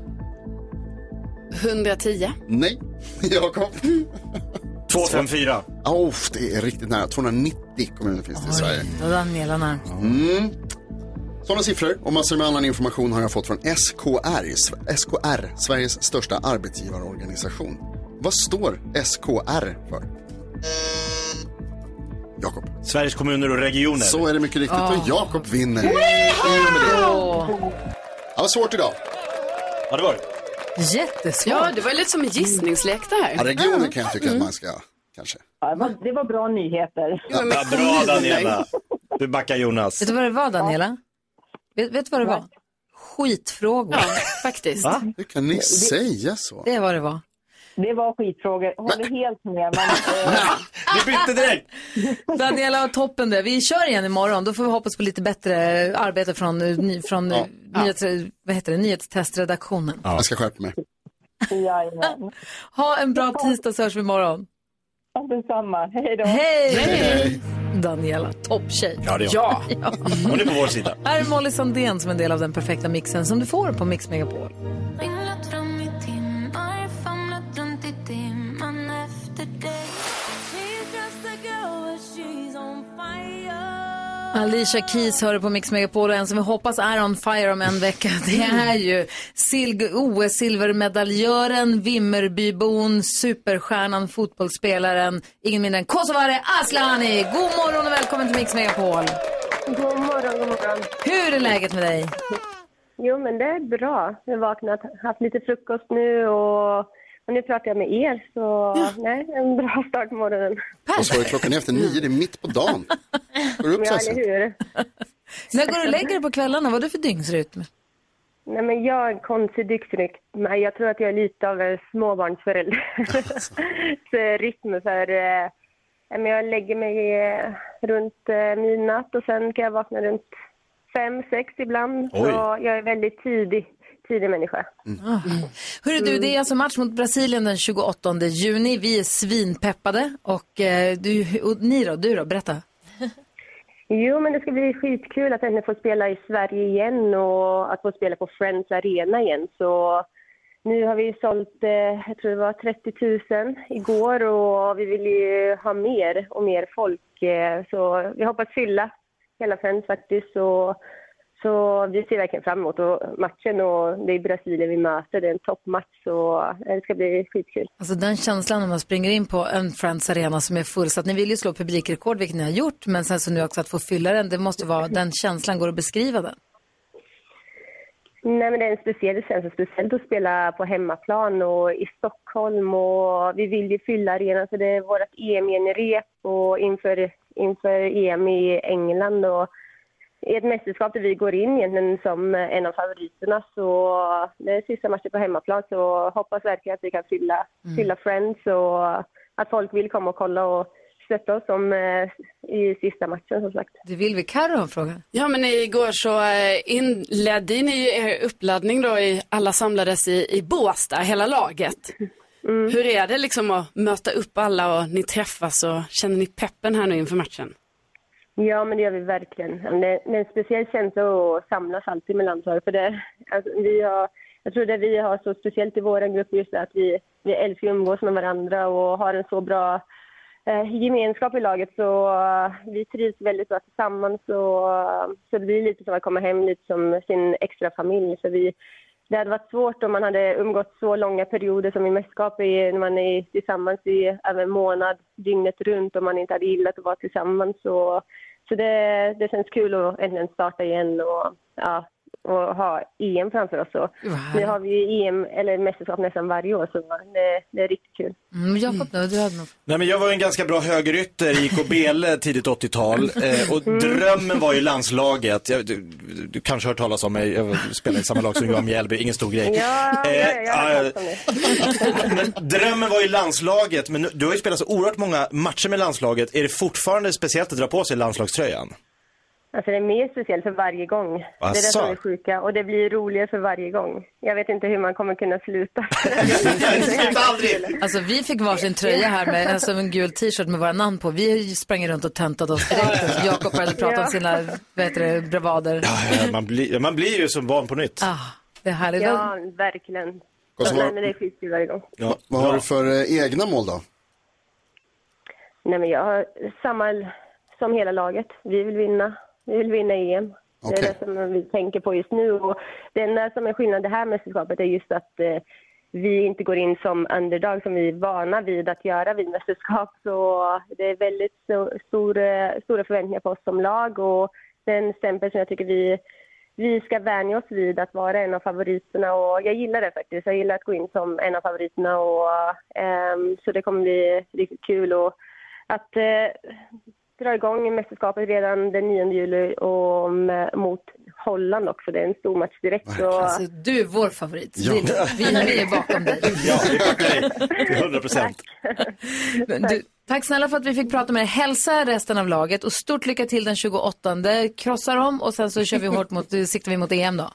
D: 110.
E: Nej. Jakob?
C: 254.
E: Oh, det är riktigt nära. 290 kommuner finns det i Sverige.
A: Då Daniela närmast.
E: Mm. Sådana siffror och massor med annan information har jag fått från SKR, SKR Sveriges största arbetsgivarorganisation. Vad står SKR för? Jakob.
C: Sveriges kommuner och regioner.
E: Så är det mycket riktigt och
C: Ah.
E: Jakob vinner. Det var svårt idag.
C: Ja, det var det.
A: Jättesvårt.
D: Ja, det var lite som en gissningslek det här.
E: Ja, regioner kan jag tycka att man ska, kanske.
P: Ja, det, var, det var bra nyheter.
C: Ja, bra Daniela. Du backar Jonas.
A: Vet du vad det var Daniela? Vet, vet du vad det var? Skitfrågor.
D: faktiskt.
A: Va?
E: Hur kan ni
A: Det-
E: säga så?
A: Det är vad det var.
P: Det var skitfrågor. Håller helt med. eh, Man,
C: Vi bytte direkt.
A: Daniela har toppen där. Vi kör igen imorgon. Då får vi hoppas på lite bättre arbete från, eh, ny, från eh, nyhets, vad heter det, nyhetstestredaktionen.
E: Jag ska skärpa mig.
P: Jajamän.
A: Ha en bra tisdag så hörs vi imorgon.
P: Detsamma. Hej då.
A: Hej! Daniela, topptjej.
C: Ja, det är hon. Hon är på vår sida.
A: Här är Molly Sandén som är en del av den perfekta mixen som du får på Mix Megapol.
M: Ringlat fram i timmar, famlat runt i dimman efter dig She's just a girl but she's on fire
A: Alicia Keys hör på Mix Megapol och en som vi hoppas är on fire om en vecka det är ju Silg- OS-silvermedaljören, Vimmerbybon, superstjärnan, fotbollsspelaren, ingen mindre än Kosovare Asllani. God morgon och välkommen till Mix Megapol.
O: God morgon, god morgon.
A: Hur är läget med dig?
O: Jo, men det är bra. Jag har vaknat, haft lite frukost nu och, och nu pratar jag med er. Så nej, en bra start på morgonen.
E: Och så var det klockan efter nio, det är mitt på dagen. Går du
O: Ja,
E: upp så här sent?
O: eller hur?
A: När går du och lägger dig på kvällarna? Vad är det för dygnsrytm?
O: Nej, men jag är en konstig dygnsrytm. Men Jag tror att jag är lite av en småbarnsförälder. så rytm för... Eh, men jag lägger mig eh, runt eh, midnatt och sen kan jag vakna runt fem, sex ibland. Så
A: Oj.
O: jag är väldigt tidig, tidig människa.
A: Ah. Hörru du, det är alltså match mot Brasilien den 28 juni. Vi är svinpeppade. Och, eh, du, och ni då? Du då? Berätta.
O: Jo, men det ska bli skitkul att ändå få spela i Sverige igen och att få spela på Friends Arena igen. Så nu har vi sålt, eh, jag tror det var 30 000 igår och vi vill ju ha mer och mer folk. eh, Så vi hoppas fylla hela Friends faktiskt. Så, så vi ser verkligen fram emot och matchen och det är Brasilien vi möter. Det är en toppmatch så eh, det ska bli skitkul.
A: Alltså den känslan när man springer in på en Friends Arena som är fullsatt. Ni vill ju slå publikrekord, vilket ni har gjort, men sen så nu också att få fylla den. Det måste vara, den känslan, går att beskriva den?
O: Nej, men det är en speciell känsla, speciellt att spela på hemmaplan och i Stockholm. Och vi vill ju fylla arenan, så det är vårt E EM-genrep och inför, inför EM i England. Och I ett mästerskap där vi går in egentligen som en av favoriterna. Så det är sista matchen på hemmaplan, så hoppas verkligen att vi kan fylla,
A: Mm.
O: fylla Friends och att folk vill komma och kolla och stötta oss som, eh, i sista matchen, som sagt.
A: Det vill vi. Carro har en fråga.
D: Ja, men igår så eh, inledde ni ju er uppladdning då i alla samlades i, i Båstad, hela laget. Hur är det liksom att möta upp alla och ni träffas och känner ni peppen här nu inför matchen?
O: Ja, men det gör vi verkligen. Men det men en speciell känsla att samlas alltid med landslaget. För det, alltså, vi har, jag tror det vi har så speciellt i vår grupp just är att vi, vi älskar att umgås med varandra och har en så bra eh, gemenskap i laget. Så eh, vi trivs väldigt bra tillsammans. Och, eh, så det blir lite som att komma hem lite som sin extra familj. Så vi, det hade varit svårt om man hade umgått så långa perioder som i mästerskap är när man är tillsammans i över en månad, dygnet runt, om man inte hade gillat att vara tillsammans. Så, så det, det känns kul att äntligen starta igen och, ja, och ha EM framför oss. Så. Nu har vi ju EM, eller mästerskap nästan varje år, så det, det är riktigt kul.
A: Mm, Jakob, då, du hade något.
C: Nej, men jag var ju en ganska bra högerytter i KBL tidigt 80-tal eh, och drömmen var ju landslaget. Jag, du, du, du kanske har hört talas om mig, jag spelade i samma lag som Johan Mjällby, ingen stor grej.
O: Ja, ja, ja, jag har
C: eh,
O: hört om det.
C: Men drömmen var ju landslaget, men nu- du har ju spelat så oerhört många matcher med landslaget. Är det fortfarande speciellt att dra på sig landslagströjan?
O: Alltså det är mer speciellt för varje gång. Det är det
C: Asså?
O: som är sjuka. Och det blir roligare för varje gång. Jag vet inte hur man kommer kunna sluta.
A: Alltså vi fick varsin tröja här med alltså, en gul t-shirt med våra namn på. Vi sprang runt och tentade oss direkt. Alltså, Jakob började prata om
O: Ja.
A: sina vad heter det, bravader.
C: Eh, Man, blir- man blir ju som barn på nytt.
A: Ah, det är härligt.
O: Ja, verkligen.
E: Och så-
O: Nej, men det är skitkul varje gång.
C: Ja,
E: Vad har du för eh, egna mål då?
O: Nej, men jag har samma som hela laget. Vi vill vinna. Vi vill vinna EM. Det är det som vi tänker på just nu. Och det enda som är skillnad det här mästerskapet är just att eh, vi inte går in som underdog som vi är vana vid att göra vid mästerskap. Så det är väldigt so- stor, eh, stora förväntningar på oss som lag och den stämpel som jag tycker vi, vi ska vänja oss vid att vara en av favoriterna och jag gillar det faktiskt. Jag gillar att gå in som en av favoriterna och ehm, så det kommer bli riktigt kul och att eh, dra igång mästerskapet redan den 9 juli och mm, mot Holland också. Det är en stor match direkt. Så...
A: Alltså, du är vår favorit.
O: Ja.
A: Din, vi, vi är bakom dig.
C: Till 100 procent.
A: Men Du, tack snälla för att vi fick prata med dig. Hälsa resten av laget och stort lycka till den 28. Krossa dem och sen så kör vi hårt mot, siktar vi mot EM då.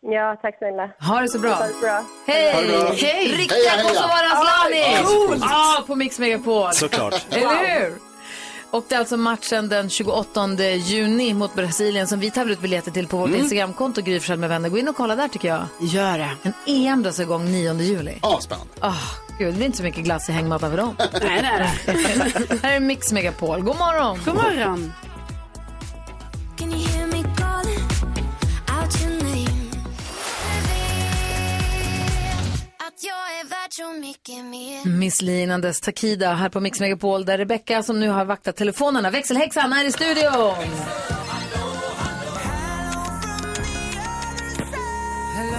O: Ja, tack snälla.
A: Ha det så bra.
O: Ha det bra.
A: Hej!
O: Ha det bra.
A: Hej!
O: Heja,
A: Riktiga
O: heja.
A: Kosovare Asllani!
O: Ja, coolt.
A: Ja, på Mix Megapol.
M: Såklart.
A: Eller hur? Och det är alltså matchen den 28 juni mot Brasilien som vi tar ut biljetter till på vårt
E: Mm.
A: Instagramkonto Gry Forssell med vänner. Gå in och kolla där tycker jag.
D: Gör det.
A: En EM dras igång 9 juli.
E: Ja, spännande.
A: Ah, gud, det blir inte så mycket glass i hängmattan för dem.
D: Nej, det
A: är det. Här är Mix Megapol. God morgon!
D: God morgon!
M: Can you hear me calling out your name? Att jag är värd så mycket mer
A: Miss Li innan dess Takida här på Mix Megapol där Rebecca som nu har vaktat telefonerna, växelhäxan, är i studion.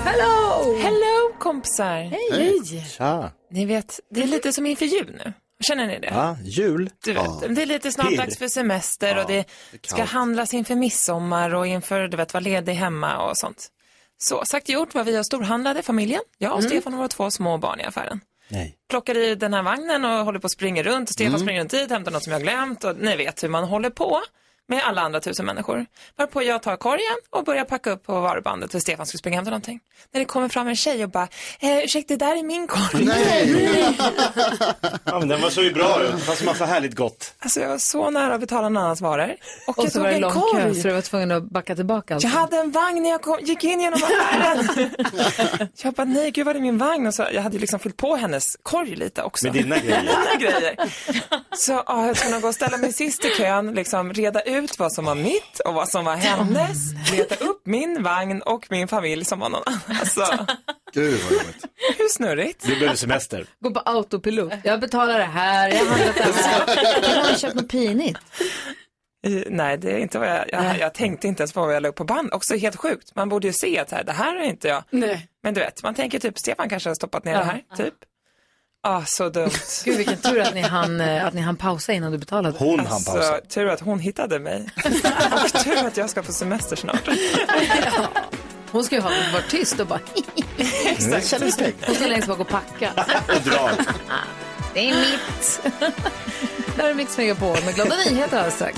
A: Hello!
Q: Hello kompisar! Hej!
C: Tja.
Q: Ni vet, det är lite som inför jul nu. Känner ni det?
C: Ja, jul.
Q: Du vet, det är lite snart dags för semester och det
C: det är
Q: ska
C: kallt.
Q: handlas inför midsommar och inför, du vet, vara ledig hemma och sånt. Så sagt och gjort var vi och storhandlade familjen. Jag och Stefan och våra två små barn i affären.
C: Mm. Nej.
Q: Plockar i den här vagnen och håller på att springa runt. Och Stefan
M: Mm.
Q: springer runt dit, hämtar något som jag har glömt och ni vet hur man håller på med alla andra tusen människor. Varpå jag tar korgen och börjar packa upp på varubandet för Stefan skulle springa och hämta någonting. När det kommer fram en tjej och bara, eh, ursäkta, det där är min korg.
C: Ja, men den var så ju bra ut. Fast man får härligt gott.
Q: Alltså jag var så nära att betala någon annans varor. Och,
A: Och
Q: jag
A: så
Q: tog
A: var det
Q: en
A: lång kö
Q: korg.
A: så du var tvungen att backa tillbaka. Alltså.
Q: Jag hade en vagn när jag kom, gick in genom affären. jag bara, nej gud vad är det min vagn? Och så, jag hade ju liksom fyllt på hennes korg lite också.
C: Med dina grejer.
Q: Mina grejer. Så ja, jag skulle gå och ställa mig sist i kön, liksom reda ut vad som var mitt och vad som var hennes. Leta upp min vagn och min familj som var någon annan. Alltså,
E: Gud vad roligt.
Q: hur snurrigt?
C: Du behöver semester.
A: Gå på autopilot. Jag betalar det här, jag har handlat det här. Jag har köpt något pinigt.
Q: Eh, Nej, det är inte vad jag, jag, jag tänkte inte ens på vad jag la upp på band. Också helt sjukt. Man borde ju se att så här, det här är inte jag.
D: Nej.
Q: Men du vet, man tänker typ Stefan kanske har stoppat ner
A: Ja.
Q: det här, typ. Ah, så dumt.
A: Gud vilken tur att ni hann, eh, att ni hann pausa innan du betalade.
Q: Alltså, tur att hon hittade mig. Och tur att jag ska på semester snart.
A: Hon ska ju ha varit tyst och bara
Q: Exakt.
A: Kändes det? Hon ska längst bak och packa.
C: Och drar.
A: Det är mitt. Där är Mix Megapol med glada nyheter alldeles strax.